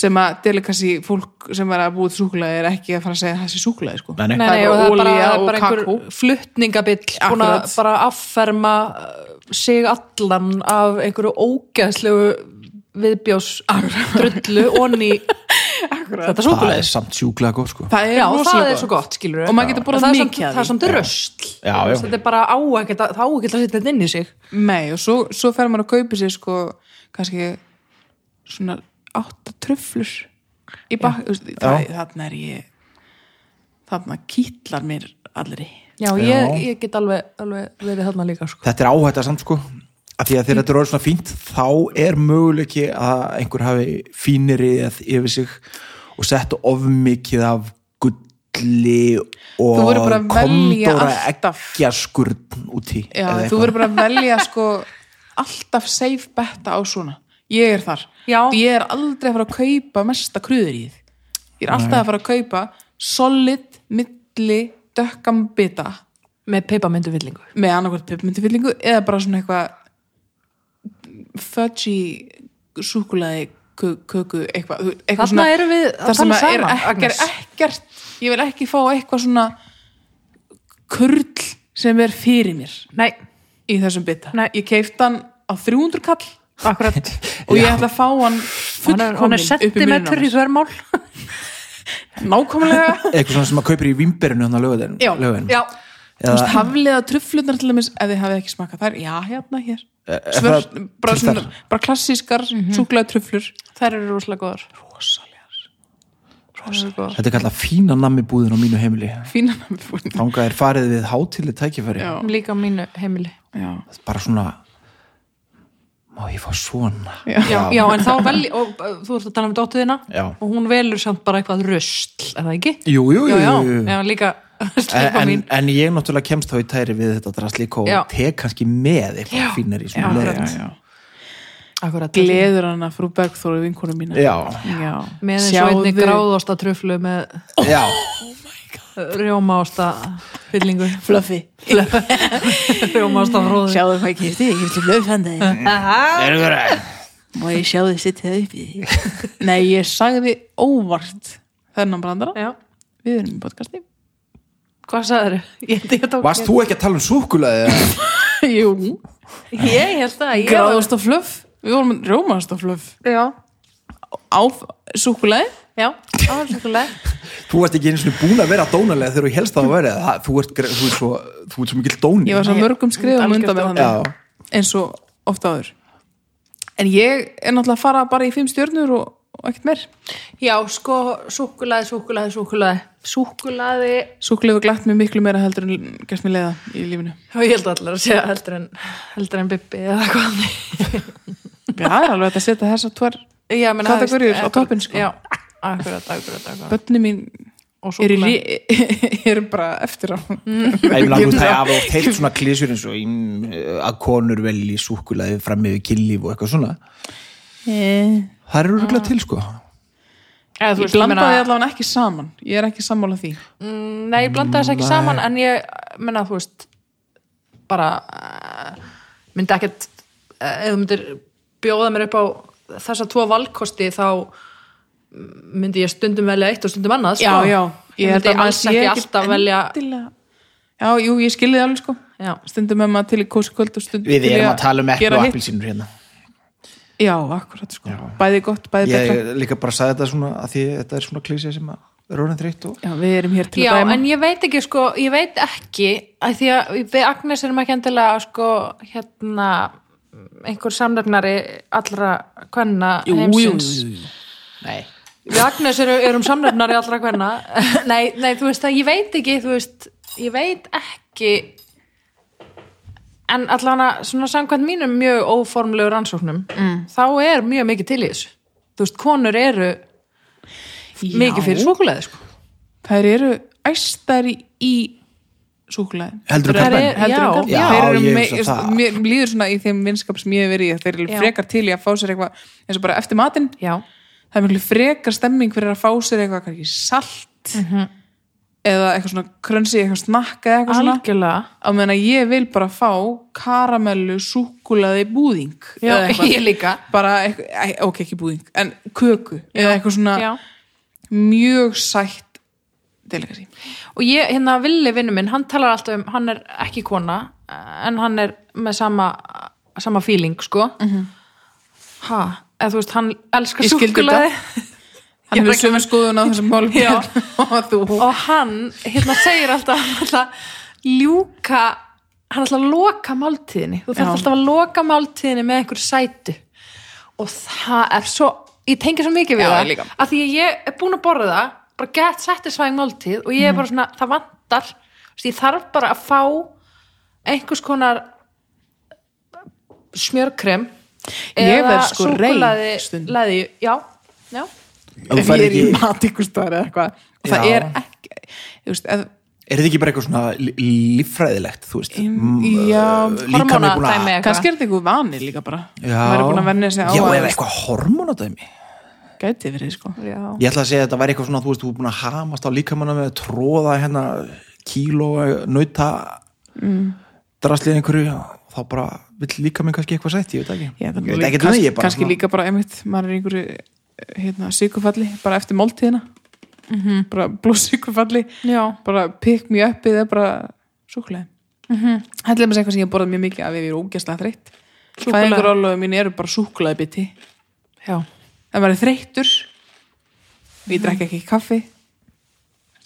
Speaker 3: sem að delikasi fólk sem er að búið súkulega er ekki að fara að segja að það sé súkulega sko.
Speaker 1: Nei, nei.
Speaker 2: nei,
Speaker 3: það
Speaker 2: nei,
Speaker 3: er
Speaker 2: og það er bara,
Speaker 3: olía
Speaker 2: það er
Speaker 3: og
Speaker 2: bara
Speaker 3: kakó
Speaker 2: einhver fluttningabill búin að
Speaker 3: Akkurat.
Speaker 2: bara afferma uh, sig allan af einhverju ógeðslegu viðbjós drullu onni þetta
Speaker 1: það er
Speaker 2: súkulegis
Speaker 1: samt sjúklega gott sko
Speaker 3: það er
Speaker 2: Já,
Speaker 3: rosalega
Speaker 2: það er svo gott, skilur
Speaker 3: Og maður getur borðað mikið af
Speaker 2: Það er
Speaker 3: því.
Speaker 2: samt röst
Speaker 1: Já, já.
Speaker 2: Þetta er bara á ekkert að, það á ekkert að setja þetta inn í sig
Speaker 3: Nei, og svo, svo fer maður að kaupa sér sko, kannski svona átta tröflur í bak, þú veist, það, þarna er ég þarna kýtlar mér allri
Speaker 2: Já, ég, ég get alveg, alveg verið þarna líka sko.
Speaker 1: þetta er áhætta samt sko af því að þegar þetta er orðið svona fínt þá er möguleiki að einhver hafi fínri eða yfir sig og sett of mikið af gulli
Speaker 3: Þú
Speaker 1: og
Speaker 3: verður bara að velja
Speaker 1: komdóra
Speaker 3: alltaf.
Speaker 1: ekkjaskurn úti
Speaker 3: Já,
Speaker 1: eða
Speaker 3: þú
Speaker 1: eitthvað.
Speaker 3: verður bara að velja sko alltaf safe betta á svona ég er þar,
Speaker 2: Já.
Speaker 3: ég er aldrei að fara að kaupa mesta kröður í þið ég er alltaf að fara að kaupa solid, milli, dökkam bita
Speaker 2: Með peipamöndu villingu
Speaker 3: með annarkvært peppermyntufyllingu eða bara svona eitthvað fudgy súkulaði köku eitthvað, þú- eitthvað
Speaker 2: Þarna erum við að
Speaker 3: það sem
Speaker 2: tala
Speaker 3: að er
Speaker 2: saman,
Speaker 3: ekkert,
Speaker 2: Agnes.
Speaker 3: ekkert ég vil ekki fá eitthvað svona kurl sem er fyrir mér
Speaker 2: Nei,
Speaker 3: í þessum bita
Speaker 2: Nei.
Speaker 3: ég keift hann á 300 kall
Speaker 2: akkurat
Speaker 3: og ég ætla að fá hann
Speaker 2: Hann er, hann er
Speaker 3: fullkominn upp í
Speaker 2: sentimetur í
Speaker 3: munum
Speaker 2: þvermál
Speaker 3: nákvæmlega
Speaker 1: eitthvað svona sem maður kaupir í hérna vimberinu hann að
Speaker 3: Já,
Speaker 1: lögðin
Speaker 2: Já,
Speaker 3: Þú veist, hafliða truflurnar til dæmis ef þið hafið ekki smakað þær, já, hérna, hér
Speaker 1: er
Speaker 3: Svör,
Speaker 1: Eh, það
Speaker 3: bara,
Speaker 1: til
Speaker 3: svona,
Speaker 1: þar?
Speaker 3: bara klassískar mm truflur
Speaker 2: þær eru rosalega góðar Rosalegar
Speaker 1: þetta er kallað fína nammi búðin á mínu heimili
Speaker 3: fína namibúin
Speaker 1: þangað er farið við hátileg tækifæri
Speaker 3: Já.
Speaker 2: Líka á mínu heimili
Speaker 3: já,
Speaker 1: bara svona má ég fá svona
Speaker 2: Já, já en þá vel og, uh, Þú ert að tala um dóttuðina
Speaker 1: Já.
Speaker 2: Og hún velur samt bara eitthvað rusl Er það ekki?
Speaker 1: jú, jú,
Speaker 2: Já,
Speaker 1: jú,
Speaker 2: já,
Speaker 1: jú, jú.
Speaker 2: já líka Slepa
Speaker 1: Eh, en,
Speaker 2: mín
Speaker 1: en ég náttúrulega kemst þá í tæri við þetta drastlík og
Speaker 2: Já.
Speaker 1: tek kannski með eitthvað fínari svona
Speaker 2: já,
Speaker 1: leðan.
Speaker 3: já.
Speaker 2: Akkurat
Speaker 3: gleður hana frú Bergþóru vinkonu mína
Speaker 1: já,
Speaker 3: já.
Speaker 2: Með eins og einni gráðosta truflu með uh,
Speaker 1: já,
Speaker 2: rjómaosta fyllingu
Speaker 3: fluffy
Speaker 2: rjómaosta fróði
Speaker 3: sjáðu hvað ég kefti, ég kefti flöfandi
Speaker 1: erum við að
Speaker 3: má ég sjá þið sitt það uppi nei, ég sagði óvart þennan brandara,
Speaker 2: Já,
Speaker 3: við erum í podcasti
Speaker 2: hvað sagður? Ég, ég, tók,
Speaker 1: varst þú ekki að tala um súkulaði?
Speaker 3: jú,
Speaker 2: ég, ég held að ég
Speaker 3: gráðast og fluff við vorum rómast og fluff
Speaker 2: Já,
Speaker 3: á súkuleið
Speaker 2: já, áherslulega
Speaker 1: þú varst ekki eins og búin að vera dónalega þegar þú helst það að vera það, þú, ert, gre- þú, ert svo, þú ert svo mikill dóni
Speaker 3: ég var svo mörgum skrifum
Speaker 2: Algjört
Speaker 3: undan með
Speaker 1: já,
Speaker 3: hann eins og ofta áður en ég er náttúrulega að fara bara í fimm stjörnur og, og ekkert meir
Speaker 2: Já, sko, súkulaði, súkulaði, súkulaði Súkulaði
Speaker 3: svo klefur glatt mér miklu meira heldur en gerst mér leiða í lífinu
Speaker 2: Já, ég held allar að segja heldur en heldur en Bibbi eða hvað
Speaker 3: já, það er alveg hægt að setja þess að tver
Speaker 2: Já, menn
Speaker 3: Kategóriur á toppinn, sko.
Speaker 2: eh, Já, akkurat, akkurat, akkurat
Speaker 3: bönni mín
Speaker 2: Og
Speaker 3: eru
Speaker 2: súkkulaði.
Speaker 3: rí- eru bara eftir á
Speaker 1: ég vil alveg
Speaker 3: Ég-
Speaker 1: það að hafa oft heilt svona klísur eins og ím, að konur velji súkulaði fram yfir killíf og eitthvað svona
Speaker 3: ég
Speaker 1: það eru rúglega til sko
Speaker 2: Eða, þú veist, ég meina-
Speaker 3: blandaði allavega ekki saman ég er ekki sammála því
Speaker 2: Nei, ég blanda þess ekki saman en ég, menna, þú veist bara eh, myndi ekkert, eh, ef þú myndir bjóða mér upp á þessa tvo valkosti þá myndi ég stundum velja eitt og stundum annað sko.
Speaker 3: ég
Speaker 2: ég
Speaker 3: held
Speaker 2: myndi
Speaker 3: að maður
Speaker 2: alls
Speaker 3: sé
Speaker 2: ekki
Speaker 3: ekki
Speaker 2: alltaf velja
Speaker 3: endilega- já, jú, ég skilði alveg sko
Speaker 2: já,
Speaker 3: stundum er maður til í kóskvöld og stundum
Speaker 1: við
Speaker 3: til í
Speaker 1: erum að tala um ekki
Speaker 3: gera
Speaker 1: og
Speaker 3: hitt.
Speaker 1: appilsínur hérna
Speaker 3: Já, akkurat sko. Bæði gott, bæði betra.
Speaker 1: ég líka bara sagði þetta svona að því þetta er svona klísja sem að er orðin þreytt og
Speaker 3: Já, við erum hér til
Speaker 2: já
Speaker 3: að dæma.
Speaker 2: en ég veit ekki sko, ég veit ekki að því að við Agnes erum ekki endilega sko, hérna einhver samlefnari allra kvenna
Speaker 3: Jú, jú,
Speaker 2: heimsins
Speaker 3: jú, jú, jú.
Speaker 1: nei
Speaker 2: Við Agnes eru, erum samlefnari allra hverna nei, nei, þú veist að ég veit ekki þú veist, ég veit ekki en allan að svona samkvæmt mínum mjög óformlegu rannsóknum mm. þá er mjög mikið til í þessu þú veist, konur eru
Speaker 3: Já.
Speaker 2: mikið fyrir svokuleði sko.
Speaker 3: Þær eru æstari í súkulæðin
Speaker 1: Heldurðu
Speaker 3: Þeir
Speaker 1: kampavín?
Speaker 3: eru- heldur
Speaker 2: Já.
Speaker 3: en kampavín
Speaker 1: um Já,
Speaker 3: Þeir eru
Speaker 1: ég
Speaker 3: mei-
Speaker 1: hugsa það.
Speaker 3: mér líður svona í þeim vinskap sem ég hef verið í að þeir eru
Speaker 2: Já.
Speaker 3: frekar til í að fá sér eitthvað eins og bara eftir matinn
Speaker 2: já,
Speaker 3: það er miklu frekar stemming fyrir að fá sér eitthvað kannski salt
Speaker 2: Mhm.
Speaker 3: eða eitthvað svona krönsi eitthvað snakka eða eitthvað svona
Speaker 2: algjörlega
Speaker 3: á meðan að ég vil bara fá karamellu, súkulaði, búðing
Speaker 2: Já,
Speaker 3: eða eitthvað.
Speaker 2: ég líka.
Speaker 3: bara, eitthvað, æ, ok, ekki búðing, en köku eða eitthvað svona
Speaker 2: já.
Speaker 3: mjög sætt delikasi
Speaker 2: og ég, hérna Villi vinnu minn, hann talar alltaf um hann er ekki kona, en hann er með sama, sama feeling sko ha, eða þú veist, hann elskar
Speaker 3: Mhm. Ég skildi
Speaker 2: súkkulaði
Speaker 3: hann
Speaker 2: Ég
Speaker 3: hefur
Speaker 2: er
Speaker 3: sömu skoðun á þessum málum
Speaker 2: Já.
Speaker 3: og þú
Speaker 2: og hann, hérna segir alltaf hann alltaf ljúka hann alltaf að loka máltíðinni þú þarf
Speaker 3: Já.
Speaker 2: alltaf að loka máltíðinni með einhver sætu og það er svo ég tengi svo mikið við
Speaker 3: Já,
Speaker 2: það
Speaker 3: ég líka.
Speaker 2: að því að ég er búin að borða það bara get satisfying máltíð og ég
Speaker 3: Mhm.
Speaker 2: er bara svona, það vantar þú veist, ég þarf bara að fá einhvers konar smjörkrem
Speaker 3: Ég verð
Speaker 2: eða
Speaker 3: sko reið
Speaker 2: súkkulaði-
Speaker 3: stundum.
Speaker 2: leðju, já, já
Speaker 1: Ef þú
Speaker 3: ef ég
Speaker 1: ferð
Speaker 3: er í
Speaker 1: ekki-
Speaker 3: mat ykkur staðar eða eitthvað og það
Speaker 1: Já.
Speaker 3: er ekki þú veist, eð,
Speaker 1: Er þetta ekki bara eitthvað svona li- líffræðilegt, þú veist? Mm,
Speaker 3: já,
Speaker 1: uh, líkaminn er búinn að-
Speaker 2: hormonadæmi. Eitthvað.
Speaker 3: kannski er þetta eitthvað vani líka bara
Speaker 1: Já,
Speaker 3: maður er búin að venni sig á
Speaker 1: Já,
Speaker 3: að-
Speaker 1: eða eitthvað hormonadæmi.
Speaker 3: gæti verið sko
Speaker 2: já,
Speaker 1: Ég ætla að segja að þetta væri eitthvað svona, þú veist, þú er búin að hamast á líkamanna með að tróða hérna kíló, nauta, mm. draslið einhverju, þá bara vill líkaminn kannski eitthvað sætt, ég veit ekki.
Speaker 3: Já, það
Speaker 1: ég
Speaker 3: er
Speaker 1: veit ekki um
Speaker 3: kannski,
Speaker 1: því, ég bara
Speaker 3: kannski
Speaker 1: svona-
Speaker 3: líka bara einmitt, maður er í einhverju eh, hérna, sykufalli, bara eftir máltíðina -hmm. bara blóðsykufalli
Speaker 2: Mhm. já.
Speaker 3: bara pick me up eða bara súkulega
Speaker 2: Mhm.
Speaker 3: mm -hmm. heldur með eitthvað sem ég hef borðað mjög mikið af ef ég er ógæslega þreytt
Speaker 2: Súkkulaði.
Speaker 3: fæðingur álöfum mín eru bara súkulega biti
Speaker 2: já.
Speaker 3: ef maður er þreyttur og ég
Speaker 2: Mhm.
Speaker 3: drekka ekki kaffi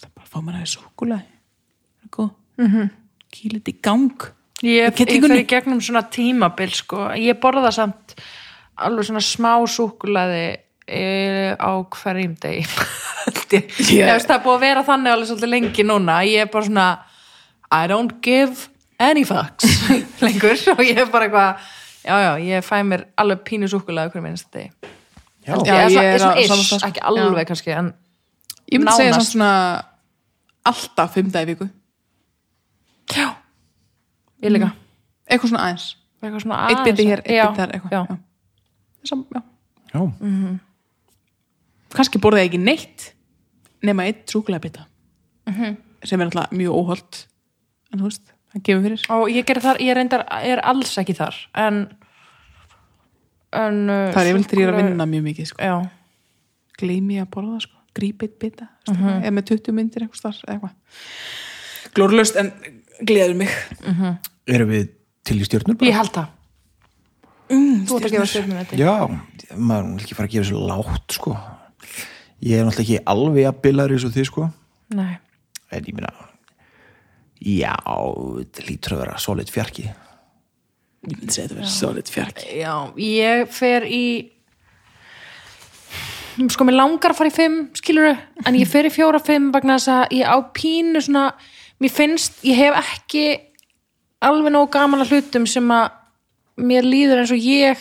Speaker 3: það bara fá mér aðeins súkulega það er góð mm -hmm. kýlit í gang
Speaker 2: Mhm. Ég,
Speaker 3: Í
Speaker 2: ég fer
Speaker 3: kettlingunni.
Speaker 2: í gegnum svona tímabil sko. ég borða samt alveg svona smá súkulaði e, á hverjum degi Held ég
Speaker 3: Ég-
Speaker 2: yeah. það er búið að vera þannig alveg svolítið lengi núna ég er bara svona I don't give any fucks lengur og ég er bara eitthvað já já, ég fæ mér alveg pínu súkulaði hverjum einasta degi
Speaker 1: Já.
Speaker 2: Ég er
Speaker 3: ég
Speaker 2: svona-
Speaker 3: er
Speaker 2: er
Speaker 3: á
Speaker 2: svona
Speaker 3: sama
Speaker 2: ish,
Speaker 3: stað, sko.
Speaker 2: ekki alveg kannski en
Speaker 3: ég myndi segja
Speaker 2: Nánast.
Speaker 3: samt svona alltaf fimm dag í viku
Speaker 2: já, ég líka
Speaker 3: eitthvað svona aðeins
Speaker 2: eitthvað svona
Speaker 3: eitt
Speaker 2: aðeins-
Speaker 3: Mm. biti hér, eitt
Speaker 2: Já,
Speaker 3: biti þar eitthvað
Speaker 2: já.
Speaker 3: já. Sam, já.
Speaker 1: Já,
Speaker 3: kannski borðið ekki neitt nema eitt súkulega bita
Speaker 2: Mhm.
Speaker 3: sem er alltaf mjög óholt en þú veist, það gefur fyrir
Speaker 2: og ég gerði þar, ég reyndar er alls ekki þar en, en uh,
Speaker 3: það er yfirleitt þegar ég er að vinna mjög mikið sko.
Speaker 2: já,
Speaker 3: gleymi ég að borða sko. gríp eitt bita mm -hmm.
Speaker 2: Mhm.
Speaker 3: eða með 20 myndir eitthvað starf, eitthvað glórlust en gleður mig
Speaker 1: erum við til í stjórnur bara?
Speaker 2: ég held það mm, þú ert að gefa stjórnum þetta
Speaker 1: Já, maður vil ekki fara að gera þessu lágt sko. ég er náttúrulega ekki alveg að bilaður eins og þið sko.
Speaker 2: nei,
Speaker 1: en ég minna já, þetta lítur að vera solid fjarki
Speaker 3: ég myndi segja þetta verið solid fjarki
Speaker 2: já, ég fer í sko, mér langar að fara í fimm skiluru, en ég fer í fjóra fimm vegna þess að ég á pínu svona mér finnst, ég hef ekki alveg nóg gaman að hlutum sem að mér líður eins og ég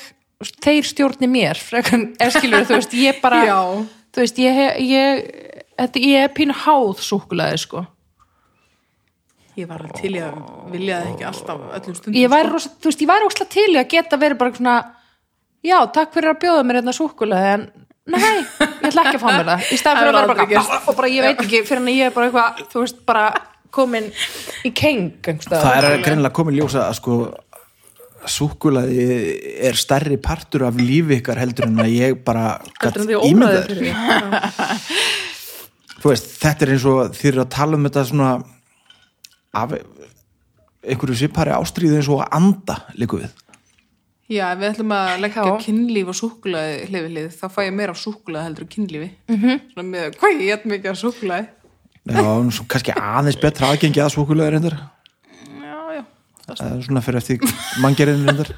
Speaker 2: þeir stjórni mér frekar, ef skilur þú veist, ég bara
Speaker 3: Já.
Speaker 2: þú veist, ég, hef- ég, þetta, ég er pínu háð súkulaði sko
Speaker 3: ég var til ég að vilja það ekki alltaf öllum stundum sko.
Speaker 2: ég væri rosa, þú veist, ég væri ósla til í að geta verið bara svona, já, takk fyrir að bjóða mér hérna súkulaði, en nei, ég ætla ekki að fá mér það, í staðan fyrir
Speaker 3: Það
Speaker 2: að
Speaker 3: hefur
Speaker 2: vera
Speaker 3: aldrei
Speaker 2: bara og bara ég veit ekki, fyrir en ég er bara eitthvað þú veist, bara komin í keng
Speaker 1: það er greinilega komin ljósa að sko súkulaði er stærri partur af lífi ykkar heldur en að ég bara gat
Speaker 2: heldur en því
Speaker 1: ímyndað
Speaker 2: óraðið
Speaker 1: þér.
Speaker 2: fyrir því.
Speaker 1: þú veist, þetta er eins og þið eru að tala um þetta svona af einhverju sipari ástríði eins og að anda líku við
Speaker 3: já, ef við ætlum að leggja
Speaker 2: Já.
Speaker 3: kynlíf og súkulaði hlifilið, þá fæ ég meira af súkulaði heldur en kynlífi mm -hmm. svona með, hvað ég get mikið af súkulaði
Speaker 1: já, svo kannski aðeins betra aðgengi að súkulaði reyndar
Speaker 3: já, já,
Speaker 1: Það er svona fyrir eftir manngerðin reyndar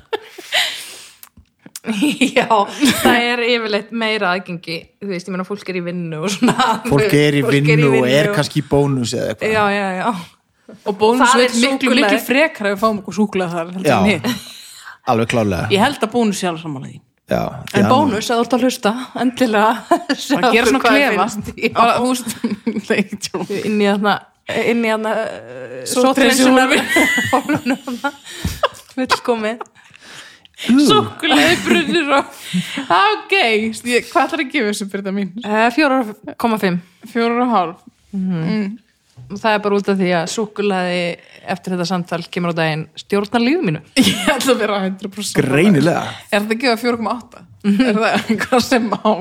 Speaker 2: Já, það er yfirleitt meira aðgengi þú veist, ég meina fólk er í vinnu og svona
Speaker 1: fólk er í vinnu og er kannski í bónus eða eitthvað
Speaker 2: Já, já, já,
Speaker 3: og bónus
Speaker 2: Það er
Speaker 3: veit miklu,
Speaker 2: súkkulaði.
Speaker 3: miklu frekar að við fáum okkur súkulaði þar heldur
Speaker 1: Já.
Speaker 3: en hitt
Speaker 1: alveg klálega
Speaker 3: ég held að bónus sé alveg sammála því
Speaker 1: já, því
Speaker 2: en
Speaker 1: hann-
Speaker 2: bónus að þú ert að hlusta endilega
Speaker 3: að gera svona klefa
Speaker 2: Já.
Speaker 3: og þú veist, nei, tjók.
Speaker 2: inn í þarna eh, inn í hann
Speaker 3: Sótthreinsunar-
Speaker 2: hólunum fullkomin
Speaker 3: Súkuleið brunnir og ok, ég- hvað ætlar að gefa þessu byrða mín?
Speaker 2: Eh, 4,5
Speaker 3: Fjórar og hálf
Speaker 2: og það er bara út af því að súkulaði eftir þetta samtal kemur á daginn stjórnar lífið mínu
Speaker 3: Ég ætla að vera 100%
Speaker 1: greinilega
Speaker 3: Er það ekki að 4,8? Er það eitthvað sem á?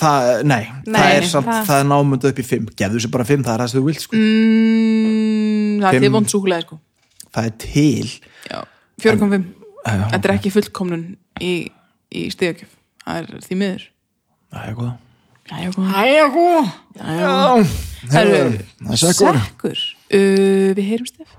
Speaker 1: það, nei, það
Speaker 2: Nei,
Speaker 1: er samt,
Speaker 2: það-
Speaker 1: það, er námöndu upp í 5 gefðu sér bara 5, það er það sem þú vilt sko.
Speaker 3: Mm, það er
Speaker 1: Fimm.
Speaker 3: þið vond súkulega sko
Speaker 1: það er til
Speaker 3: Já, 4,5
Speaker 1: já.
Speaker 3: Þetta er ekki fullkomnun í, í stíðakjöf Það er því miður
Speaker 1: það er góð
Speaker 3: Jæja, góð Jæja, góð Jæja,
Speaker 1: það er sekkur
Speaker 3: Sekkur uh, Við heyrumst ef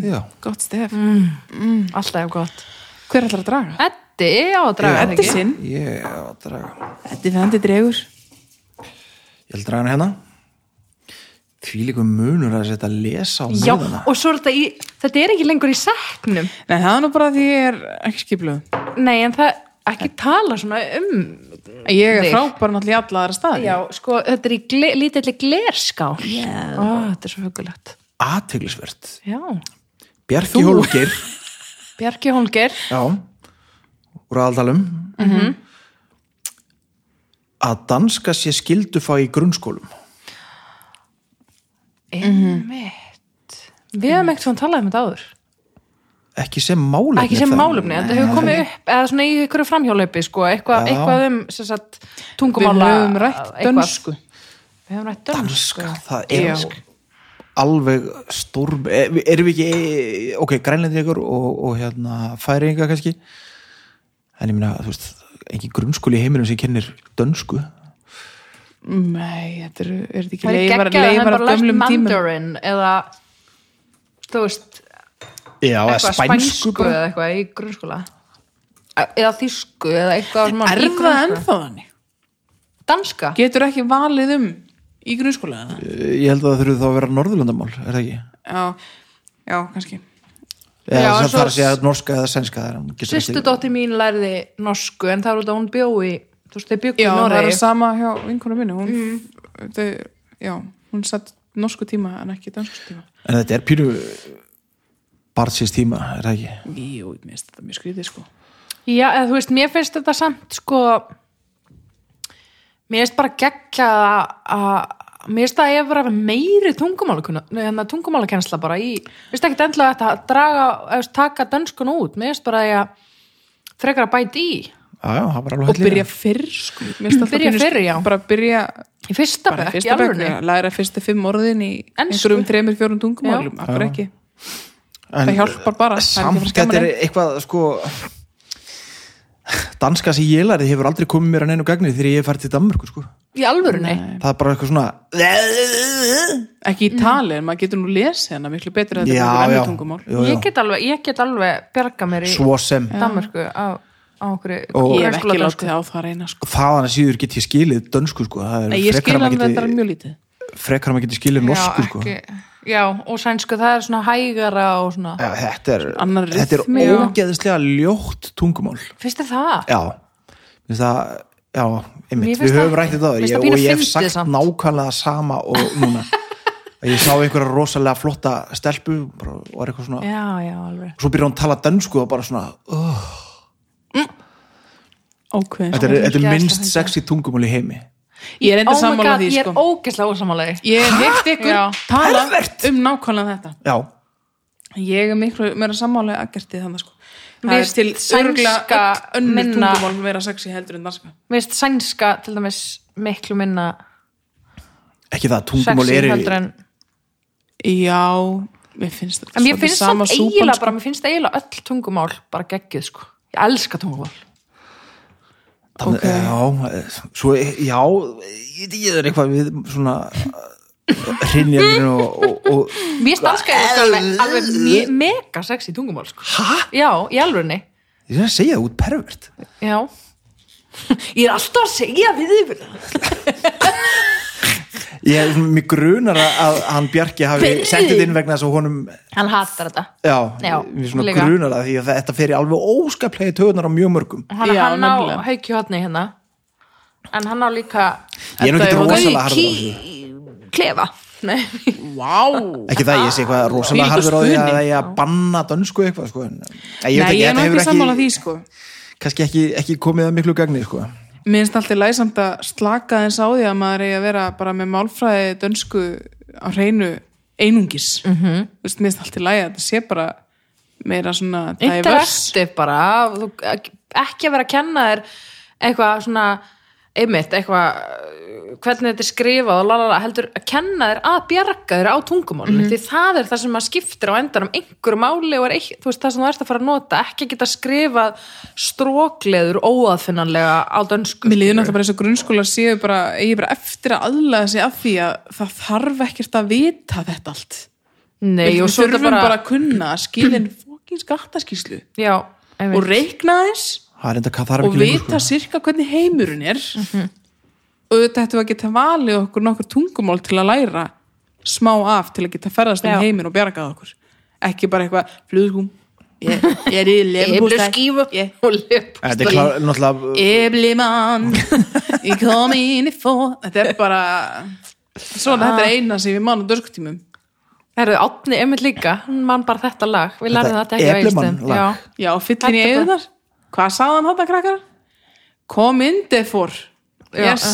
Speaker 1: já,
Speaker 3: Gott stef
Speaker 2: Mm. alltaf er gott
Speaker 3: Hver ætlar að draga?
Speaker 2: Eddi, já, að draga það
Speaker 3: Eddi
Speaker 2: ekki?
Speaker 3: sinn
Speaker 1: ég er að draga
Speaker 3: Eddi fændi dregur
Speaker 1: ég vil draga hana hérna því líka munur að setja að lesa á
Speaker 2: já,
Speaker 1: miðana
Speaker 2: og svo er þetta í þetta er ekki lengur í setnum
Speaker 3: Nei, það er nú bara því ég er ekki skipluð
Speaker 2: nei, en það, ekki tala svona um
Speaker 3: Ég er
Speaker 2: Þig.
Speaker 3: frábæra náttúrulega í alla aðra staði
Speaker 2: já, sko, þetta er í gle, lítilli glerskál yeah. Ó, þetta er svo hugulegt
Speaker 1: aðteglisvert
Speaker 2: já,
Speaker 1: Bjarki Hólgir
Speaker 2: Bjarki Holger
Speaker 1: já, úr aðaldalum
Speaker 2: Mhm.
Speaker 1: að danska sé skildufag í grunnskólum
Speaker 2: einmitt við hefum ekkert svona talað um þetta áður
Speaker 1: ekki sem málefni
Speaker 2: ekki sem
Speaker 1: það-
Speaker 2: málumni, þetta hefur komið upp eða svona í ykkur framhjólaupi, sko, eitthvað,
Speaker 1: Já.
Speaker 2: eitthvað um sem sagt,
Speaker 3: Við
Speaker 2: tungumála
Speaker 3: höfum rætt
Speaker 2: eitthvað.
Speaker 3: dönsku
Speaker 2: við höfum rætt dönsku
Speaker 1: danska, það er alveg stór er, erum við ekki, e, ok, grænlendingur og, og hérna færinga kannski en ég meina, þú veist engin grunnskóli í heiminum sem kennir dönsku
Speaker 3: Nei, þetta eru, er þetta ekki
Speaker 2: það er
Speaker 3: leifar,
Speaker 2: geggjað að hann
Speaker 3: leifar af
Speaker 2: bara lært
Speaker 3: gömlum tímum
Speaker 2: mandarin eða þú veist,
Speaker 1: já, eða
Speaker 2: eitthvað spænsku eða eitthvað í grunnskóla E- eða þýsku eða eitthvað sem hann-
Speaker 3: Er
Speaker 2: í
Speaker 3: það
Speaker 2: grunnskóla.
Speaker 3: ennþá þannig?
Speaker 2: danska?
Speaker 3: Getur ekki valið um í grunnskóla? eða?
Speaker 1: ég held að það þurfi þá að vera norðurlandamál er það ekki?
Speaker 3: Já, já, kannski
Speaker 1: Eða,
Speaker 2: Já,
Speaker 1: já,
Speaker 2: en
Speaker 1: það
Speaker 2: svo-
Speaker 1: þarf að segja norska eða sænska það er hann getur
Speaker 2: sýstu dótti mín lærði norsku en það er út að hún bjó í þú veist, þau byggu í
Speaker 3: Já, það er
Speaker 2: Noregi
Speaker 3: sama hjá vinkonu minni hún, þau, Já, hún satt norsku tíma en ekki dansku tíma
Speaker 1: en þetta er pínu barnsins tíma, er það ekki?
Speaker 3: Jú, mér finnst þetta mjög skrítið sko
Speaker 2: Já, eða þú veist, mér finnst þetta samt sko mér finnst bara geggja að mér finnst það að ég vera meiri tungumála tungumálakensla bara í mér finnst ekki endla þetta að draga eða þú veist, taka dönskun út, mér finnst bara að ég frekar að bæta í
Speaker 1: Já, já, það var alveg
Speaker 3: Og
Speaker 1: hellingur.
Speaker 3: byrja fyrr sko Mér finnst alltaf
Speaker 2: Byrja
Speaker 3: pínu
Speaker 2: fyrr,
Speaker 3: skrítið,
Speaker 2: já.
Speaker 3: Bara byrja
Speaker 2: í fyrsta
Speaker 3: bara í
Speaker 2: bekk, í
Speaker 3: fyrsta bekk
Speaker 2: alvörni
Speaker 3: já, Læra fyrstu fimm orðin í
Speaker 2: Ensku.
Speaker 3: einhverjum þremur, fjórum tungumálum Akkur ekki
Speaker 1: En-
Speaker 3: Það hjálpar bara, það er ekki að
Speaker 1: samt
Speaker 3: fara
Speaker 1: þetta
Speaker 3: skamma
Speaker 1: er
Speaker 3: neitt.
Speaker 1: eitthvað sko danska sem ég lærið hefur aldrei komið mér að neinu gagni þegar ég hef farið til Danmörku sko.
Speaker 2: í alvörni
Speaker 1: það er bara eitthvað svona
Speaker 3: Ekki í tali, en maður getur nú lesið hana miklu betur en þetta
Speaker 1: já,
Speaker 3: er
Speaker 1: já,
Speaker 3: ennur tungumál
Speaker 1: jú, jú.
Speaker 2: ég get alveg, ég get alveg bjarga mér í
Speaker 1: svo sem
Speaker 2: Danmarku á, á okkur
Speaker 1: Og-
Speaker 3: Ég hef ekki látið á það að reyna sko
Speaker 1: þaðan að síður get ég skilið dönsku sko. það
Speaker 3: Nei, ég
Speaker 1: er frekar
Speaker 3: skil
Speaker 1: að
Speaker 3: hann þetta
Speaker 1: maður geti,
Speaker 3: mjög lítið
Speaker 1: frekar að maður geti skilið norsku sko.
Speaker 2: já, ekki, já, og sænsku, það er svona hægara og svona,
Speaker 1: Já, þetta er,
Speaker 3: Annar
Speaker 1: þetta er
Speaker 3: rytmi, já.
Speaker 1: ógeðislega ljótt tungumál
Speaker 2: finnst þið það?
Speaker 1: já, Mér finnst það, já
Speaker 2: Mér
Speaker 1: einmitt,
Speaker 2: finnst
Speaker 1: við höfum
Speaker 2: það-
Speaker 1: rætt þetta áður.
Speaker 2: mér finnst
Speaker 1: Ég-
Speaker 2: það
Speaker 1: og
Speaker 2: pínu
Speaker 1: ég hef
Speaker 2: fyndið
Speaker 1: sagt
Speaker 2: samt.
Speaker 1: nákvæmlega sama og núna ég sá einhverja rosalega flotta stelpu bara, og er
Speaker 3: sko.
Speaker 1: eitthvað svona
Speaker 2: Já, já, alveg.
Speaker 1: svo byrjar hún að tala dönsku og bara svona oh,
Speaker 3: Ókveðin
Speaker 1: þetta, er,
Speaker 2: er
Speaker 1: þetta er
Speaker 2: ógeðslega
Speaker 1: minnst
Speaker 2: fyndið.
Speaker 1: sexy tungumál í heimi
Speaker 3: Ég er enda
Speaker 2: Oh my
Speaker 3: sammála
Speaker 2: god,
Speaker 3: því
Speaker 2: ég
Speaker 3: sko
Speaker 2: er ógeðslega ósamála því.
Speaker 3: Ég hef ykkur
Speaker 2: Já.
Speaker 3: tala um nákvæmlega þetta
Speaker 1: já,
Speaker 3: Ég er miklu meira sammála aggertið þannig sko Það
Speaker 2: Mér
Speaker 3: er til
Speaker 2: finnst sænska
Speaker 3: örgla önnur
Speaker 2: minna-
Speaker 3: tungumál meira sexi heldur en danska
Speaker 2: Mér finnst sænska, til dæmis, miklu minna
Speaker 1: ekki það, tungumál
Speaker 2: sexy
Speaker 1: eru
Speaker 2: heldur en...
Speaker 3: Já, mér finnst
Speaker 2: En
Speaker 3: þetta
Speaker 2: mér
Speaker 3: svolítið
Speaker 2: finnst
Speaker 3: sama
Speaker 2: samt
Speaker 3: súpan,
Speaker 2: eiginlega
Speaker 3: sko.
Speaker 2: bara, mér finnst eiginlega öll tungumál bara geggið, sko. Ég elska tungumál.
Speaker 1: þannig,
Speaker 3: ok.
Speaker 1: já, eh, svo, já ég veit ekki, það er eitthvað við svona hrinnjarnir og, og, og
Speaker 2: Mér finnst danska er alveg, alveg me- mega sexy tungumál, sko. Hæ? Já, í alveg
Speaker 1: ég er að segja það út pervert
Speaker 2: Já. Ég er alltaf að segja við þig
Speaker 1: Ég, svona, mér grunar að að hann Bjarki hafi
Speaker 5: Fyrir.
Speaker 1: sendið þetta inn vegna þess að honum
Speaker 5: Hann hattar þetta
Speaker 1: já,
Speaker 5: Já,
Speaker 1: mér svona
Speaker 5: líka.
Speaker 1: grunar að því að þetta fyrir alveg óskaplega í töðunar á mjög mörgum
Speaker 2: Hann,
Speaker 3: Já,
Speaker 2: hann
Speaker 3: nefnilega.
Speaker 2: á haukjuhotni hérna En hann á líka
Speaker 1: Ég er nú
Speaker 2: Þetta
Speaker 1: ekki
Speaker 2: er-
Speaker 1: rosalega harður á því
Speaker 5: Gauki Klefa
Speaker 2: Nei,
Speaker 3: sko. Vá!
Speaker 1: ekki það, ég sé eitthvað rosalega harður
Speaker 3: Þvílíkur
Speaker 1: á því að
Speaker 3: stuðning.
Speaker 1: það er að banna dönsku eitthvað sko. en, en ég veit
Speaker 3: Nei,
Speaker 1: ekki,
Speaker 3: ég er
Speaker 1: þetta
Speaker 3: nú
Speaker 1: hefur
Speaker 3: ekki sammála því,
Speaker 1: ekki
Speaker 3: sko.
Speaker 1: kannski ekki, ekki komið að miklu gagni sko.
Speaker 3: Mér finnst alltaf læsamt að slaka þess á því að maður eigi að vera bara með málfræði dönsku á hreinu einungis. Mm -hmm. Vist, mér finnst alltaf lægi að þetta sé bara meira svona diverse.
Speaker 2: interaktiv bara Þú- Ekki að vera að kenna þér eitthvað svona einmitt, eitthvað uh, hvernig þetta er skrifað og lalala, heldur að kenna þér að bjarga þér á tungumálinu
Speaker 3: Mhm.
Speaker 2: því það er það sem maður skiptir á endanum einhverju máli og er eitt, þú veist, það sem þú ert að fara að nota ekki að geta skrifað strókleður óaðfinnanlega á dönsku
Speaker 3: Mér
Speaker 2: skilur.
Speaker 3: líður náttúrulega bara eins og grunnskóla séu bara, eigi bara eftir að aðlaða sig af því að það þarf ekkert að vita þetta allt.
Speaker 2: Nei,
Speaker 3: Við
Speaker 2: og svo er
Speaker 3: þurfum
Speaker 2: þetta
Speaker 3: bara...
Speaker 2: bara,
Speaker 3: að kunna að skilin fókin skattaskíslu
Speaker 2: já, einmitt.
Speaker 3: og reikna þess
Speaker 1: það er enda hvað þarf
Speaker 3: og
Speaker 1: ekki lengur, sko.
Speaker 3: vita sirka hvernig heimurinn er
Speaker 2: Mhm.
Speaker 3: og þetta ættum við að geta valið okkur nokkur tungumál til að læra smá af til að geta ferðast um
Speaker 2: Já.
Speaker 3: heiminn og bjargað okkur ekki bara eitthvað flugum ég, ég er í
Speaker 2: Ebleskífu og
Speaker 1: En þetta
Speaker 2: lefpústa
Speaker 1: er klár, náttúrulega
Speaker 3: eblimann ég kom inn í fó þetta er bara svona
Speaker 2: Ah.
Speaker 3: þetta er eina sem við mann á dörskutímum
Speaker 2: Það eru átni einmitt líka, hún man bara þetta lag Við lærðum
Speaker 1: Þetta
Speaker 2: þetta ekki á
Speaker 1: Eblemann
Speaker 2: Egilsstöðum.
Speaker 1: lag.
Speaker 2: Já.
Speaker 3: já, fyllin í
Speaker 2: Þetta er bara-
Speaker 3: eigðunar hvað sagðan þetta krakkar? kom inn defor
Speaker 2: Já.
Speaker 3: yes,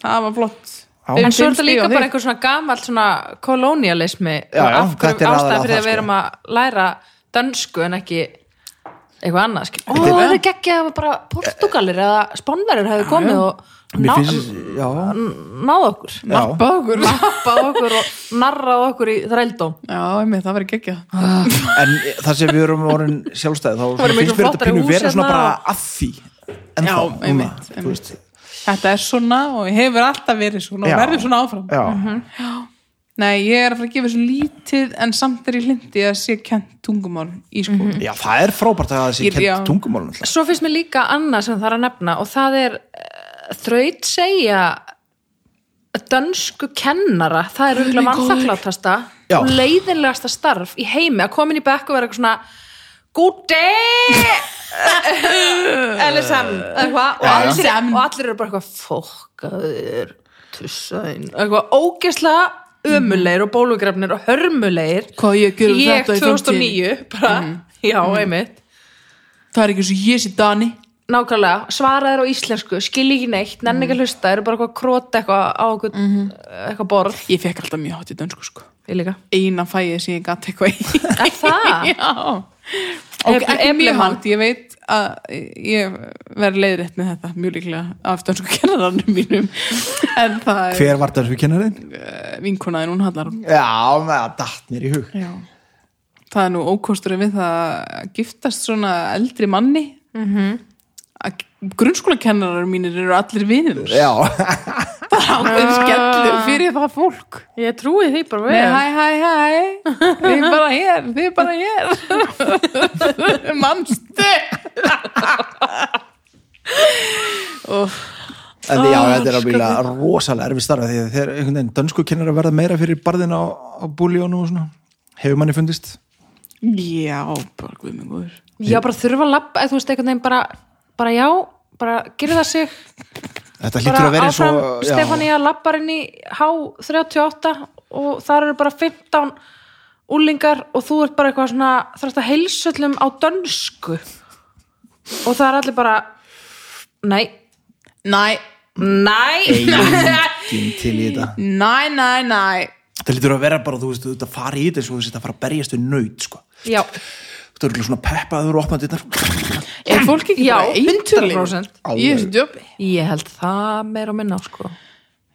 Speaker 3: það var flott
Speaker 1: Já.
Speaker 2: En svo er
Speaker 3: Fimm
Speaker 2: þetta
Speaker 3: stig á
Speaker 2: líka
Speaker 3: þig.
Speaker 2: bara einhver svona gamall svona kolonialismi
Speaker 1: Já, já,
Speaker 2: af
Speaker 1: þetta er sko.
Speaker 2: hverju ástæða
Speaker 1: aðalega
Speaker 2: fyrir
Speaker 1: það,
Speaker 2: að við erum að læra dönsku en ekki eitthvað annað skil. Ó,
Speaker 1: Þetta er-
Speaker 2: það er ekki að bara portugalir eða spónverjur hefðu komið og
Speaker 1: mér
Speaker 2: ná,
Speaker 1: finnst, já,
Speaker 2: náð okkur
Speaker 1: já,
Speaker 3: okkur
Speaker 2: nappað okkur og narrað okkur í þrældóm
Speaker 3: Já, einmitt, það verið geggja
Speaker 1: en þar sem við erum orðin sjálfstæði þá
Speaker 2: Vorum
Speaker 1: finnst
Speaker 2: miklu
Speaker 1: mér þetta
Speaker 2: flottari
Speaker 1: pínu
Speaker 2: hús
Speaker 1: vera svona
Speaker 2: hérna
Speaker 1: bara
Speaker 2: og-
Speaker 1: að því en
Speaker 3: Já,
Speaker 1: þá,
Speaker 3: einmitt, einmitt. Þetta er svona og hefur alltaf verið svona
Speaker 1: Já.
Speaker 3: og verður svona áfram
Speaker 1: já,
Speaker 3: Nei, ég er að fara að gefa þessu lítið en samt er ég hlindi að sé kent tungumál í skóla
Speaker 2: Mhm.
Speaker 1: já, það er frábært að það sé
Speaker 3: Ég- já.
Speaker 1: kent tungumál náttúrulega.
Speaker 2: Svo finnst mér líka annað sem það er að nefna og það er eh, þraut segja dönsku kennara það er auðvitað mannþaklátasta
Speaker 1: Já.
Speaker 2: og leiðinlegasta starf í heimi að komin í bekk og vera eitthvað svona good day LSM eða eitthvað
Speaker 1: Já,
Speaker 2: og,
Speaker 1: já.
Speaker 2: allir- og allir eru bara eitthvað fokkaður tussaðin eitthvað ógeslega ömulegir og bólugrafnir og hörmulegir Mm.
Speaker 3: Hvað ég gera
Speaker 2: ég
Speaker 3: þetta í framtíðinni?
Speaker 2: 2009 bara, já, einmitt
Speaker 3: Það er ekki eins og ég sé Dani
Speaker 2: nákvæmlega, svaraðir á íslensku skilji ekki neitt, nenni ekki að hlusta eru bara eitthvað krót eitthvað á eitthvað, eitthvað borð
Speaker 3: Ég fekk alltaf mjög hátt í dönsku sko
Speaker 2: ég líka
Speaker 3: Eina fæið sem ég gat eitthvað í
Speaker 2: Er það?
Speaker 3: Já Og
Speaker 2: Ef-
Speaker 3: ekki mjög
Speaker 2: Eblemann.
Speaker 3: hátt, ég veit að ég verð leiðrétt með þetta mjög líklega af dönsku kennaranum mínum en það er
Speaker 1: hver var þessu kennarinn?
Speaker 3: vinkonaðin, hún hallar hún
Speaker 1: já, með að datt mér í hug
Speaker 3: Já. Það er nú ókosturinn við það að giftast svona eldri manni mm
Speaker 2: Mhm.
Speaker 3: -hmm. grunnskólakennarar mínir eru allir vinir
Speaker 1: já,
Speaker 3: það er ákveðin skellur fyrir það fólk
Speaker 2: ég trúi því bara
Speaker 3: Nei,
Speaker 2: vel
Speaker 3: hæ, hæ, hæ, þið er bara hér þið er bara hér mannstu
Speaker 1: en
Speaker 2: Ah,
Speaker 1: já, þetta er alveg rosalega erfið starfa því að þeir einhvern veginn dönsku kennar að verða meira fyrir barðin á, á búljónu og svona hefur manni fundist
Speaker 3: já, bara guð minn góður
Speaker 2: já, bara þurfa að labba, eða þú veist einhvern veginn bara, bara já, bara gerði það sig
Speaker 1: þetta hlýtur
Speaker 2: bara
Speaker 1: að vera eins
Speaker 2: áfram
Speaker 1: og já.
Speaker 2: Stefania labbar inn í H38 og þar eru bara 15 úlingar og þú ert bara eitthvað svona þarfst að heilsöllum á dönsku og það er allir bara nei,
Speaker 3: næ,
Speaker 2: nei
Speaker 1: enginn til í þetta
Speaker 3: næ, næ, næ
Speaker 1: það lítur að vera bara, þú veist, þú ert að fara í þetta eins og þú veist að fara að berjast við nöyt sko.
Speaker 2: Já,
Speaker 1: þú ert svona peppaður og opnað þetta
Speaker 3: er fólk ekki
Speaker 2: já,
Speaker 3: bara eiturlyf?
Speaker 2: 100%
Speaker 3: ég er svo djöpi
Speaker 2: Ég held það meira og minna sko.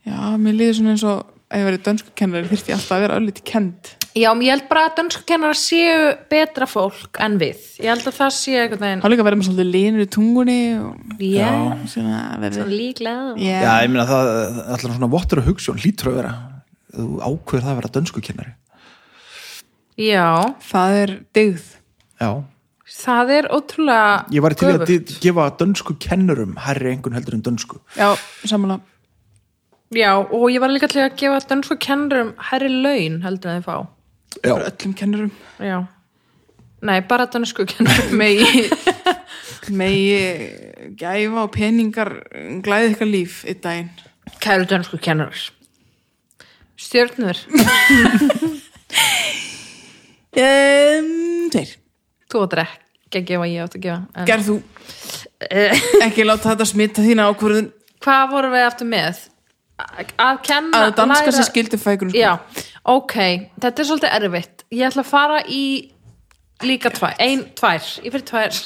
Speaker 3: Já, mér líður svona eins og ef ég verið dönsku kennari þyrfti ég alltaf að vera öllítið kend
Speaker 2: Já, ég held bara að dönsku kennar séu betra fólk en við Ég held að það séu einhvern veginn
Speaker 3: Það er líka að vera með svolítið linur í tungunni og
Speaker 2: yeah,
Speaker 3: svona verið
Speaker 2: Líklega
Speaker 1: já,
Speaker 3: yeah.
Speaker 1: ég meina það, það allan svona vottur og hugsun hlýtur að vera, þú ákveður það að vera dönsku kennari
Speaker 2: Já,
Speaker 3: Það er dyggð
Speaker 1: já
Speaker 2: það er ótrúlega
Speaker 1: Ég var til í að
Speaker 2: göfugt.
Speaker 1: di- gefa dönsku kennurum herri einhvern heldur en dönsku.
Speaker 3: já, samanlega
Speaker 2: Já, og ég var líka til að gefa dönsku kennurum herri laun heldur en þeir fá.
Speaker 1: Já,
Speaker 3: bara öllum kennurum
Speaker 2: Já. Nei, bara dönsku kennurum.
Speaker 3: megi megi gæfa og peningar glæði ykkar líf í daginn
Speaker 2: Kæru dönsku kennurar. Stjörnur,
Speaker 3: um, tveir
Speaker 2: þú átt ekki að gefa, ég átt að gefa. En,
Speaker 3: gerð þú ekki láta þetta smita þína ákvörðun
Speaker 2: hvað vorum við aftur með? Að- Að kenna,
Speaker 3: að danska sem skildi fækur
Speaker 2: Já, ok, þetta er svolítið erfitt. Ég ætla að fara í líka tvær, ein, tvær, ég fyrir tvær,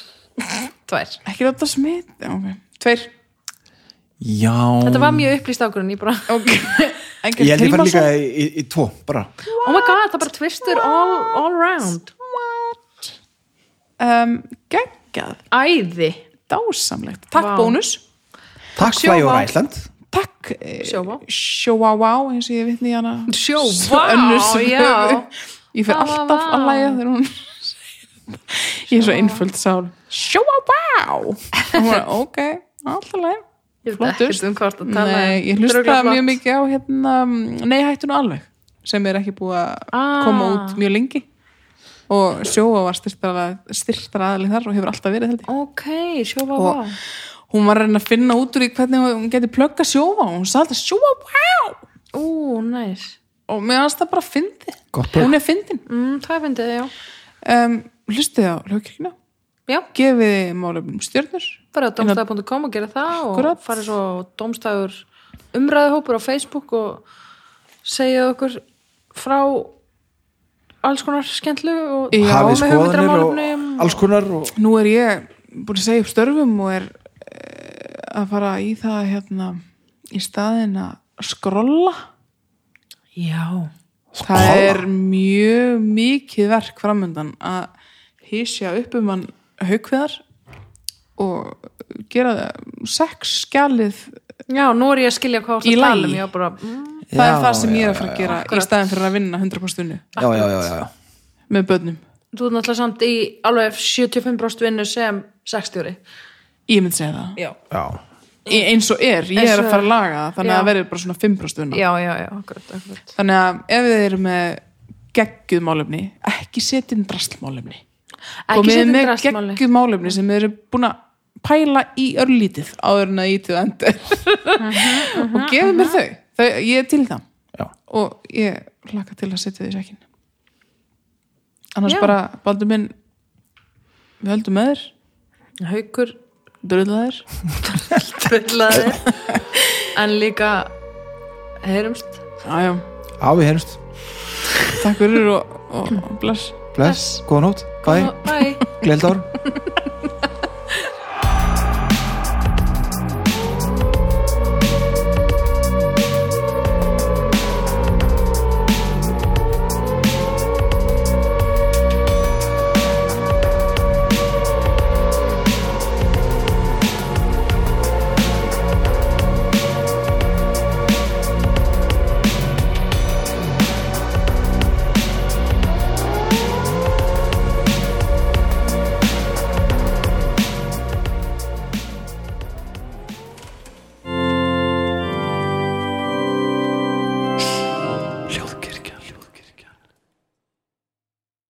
Speaker 2: tvær.
Speaker 3: ekki láta smita, já, ok tveir,
Speaker 1: já.
Speaker 2: Þetta var mjög upplýst ákvörðun, ég bara,
Speaker 3: ok
Speaker 1: Ég held ég fara líka
Speaker 3: Hilmarsson?
Speaker 1: í, í, í tvo, bara.
Speaker 2: oh my god, það er bara tvistur all, all round.
Speaker 3: um, geggjað,
Speaker 2: Æði,
Speaker 3: dásamlegt takk
Speaker 2: Vá.
Speaker 3: bónus,
Speaker 1: Takk
Speaker 2: Sjóvá.
Speaker 1: Flæjóra Æsland.
Speaker 3: takk eh,
Speaker 2: Sjóvá.
Speaker 3: sjóvá eins og ég vitni í hana
Speaker 2: sjó,
Speaker 3: önnur
Speaker 2: vá,
Speaker 3: sem
Speaker 2: já.
Speaker 3: ég fer
Speaker 2: Vá, vá,
Speaker 3: alltaf
Speaker 2: vá.
Speaker 3: að læja þegar hún ég er svo einföld sál sjóa vá og hún er ok, alltaf að læja
Speaker 2: Ég veit ekkert um hvort að tala.
Speaker 3: Nei, ég
Speaker 2: Drulla
Speaker 3: hlusta
Speaker 2: flott.
Speaker 3: mjög mikið á hérna, nei hættu nú alveg sem er ekki búið að
Speaker 2: Ah.
Speaker 3: koma út mjög lengi og sjóa var styrtar aðalinn þar og hefur alltaf verið held ég
Speaker 2: Ok, sjó, vá,
Speaker 3: Og-
Speaker 2: vá.
Speaker 3: hún var að reyna að finna út úr í hvernig hún geti plögga sjóa og hún sagði alltaf sjóa wow
Speaker 2: Ú, næs.
Speaker 3: og mér fannst það bara fyndi
Speaker 1: Gott plögg.
Speaker 3: hún er fyndin
Speaker 2: Mm, það fyndið, já.
Speaker 3: um, hlustið á lögkirkina
Speaker 2: Já.
Speaker 3: gefið málefnum stjörnur
Speaker 2: bara á domstaf.com og gera það og
Speaker 3: Akkurat.
Speaker 2: farið svo á domstafur umræðuhópur á Facebook og segja okkur frá alls konar skemmtlu og
Speaker 3: Já,
Speaker 2: og
Speaker 1: Hafið
Speaker 2: með hugmyndir
Speaker 1: skoðanir og
Speaker 2: að málumnum
Speaker 1: alls konar og
Speaker 3: nú er ég búin að segja upp störfum og er eh, að fara í það hérna í staðin að skrolla
Speaker 2: já,
Speaker 3: það er mjög mikið verk framundan að hísja upp um hann haukveðar og gera það sex skjalið
Speaker 2: já, nú er ég að skilja hvað
Speaker 3: Í
Speaker 2: þú ert að tala um
Speaker 3: lagi.
Speaker 2: já, bara, mm,
Speaker 3: það
Speaker 1: Já,
Speaker 3: er það sem
Speaker 1: já,
Speaker 3: ég er að fara að gera í staðin fyrir að vinna 100% vinnu
Speaker 1: já, já, já, já.
Speaker 3: með börnum
Speaker 2: þú er náttúrulega samt í alveg 75% vinnu sem 60
Speaker 3: ég myndi segja það
Speaker 2: já,
Speaker 1: já.
Speaker 3: Í- eins og er, ég
Speaker 2: Eins
Speaker 3: er
Speaker 2: og
Speaker 3: að
Speaker 2: er.
Speaker 3: fara að laga það þannig að
Speaker 2: Já.
Speaker 3: það verður bara svona 5% vinna
Speaker 2: já, já, já akkurat, akkurat.
Speaker 3: Þannig að ef þið eru með geggjuð málefni, ekki setja inn drastlmálefni.
Speaker 2: ekki um
Speaker 3: Komið
Speaker 2: setjum
Speaker 3: með
Speaker 2: drastmáli
Speaker 3: geggjuð málefni sem þið eru búin að pæla í örlítið áður en að ítið og endur.
Speaker 2: Uh-huh,
Speaker 3: og gefið mér þau. þau. Ég er til í það.
Speaker 1: Já.
Speaker 3: Og ég hlaka til að setja þau í sekkin. Annars
Speaker 2: Já.
Speaker 3: bara, baldur minn, við höldum með þér,
Speaker 2: haukur
Speaker 3: dröðla þér.
Speaker 2: trullaði en líka heyrumst
Speaker 3: Jájá,
Speaker 1: Hafið hennst.
Speaker 3: takk fyrir og, og, og bless.
Speaker 1: Bless. Góða nótt. Bæ.
Speaker 2: bye
Speaker 1: Gleild árum.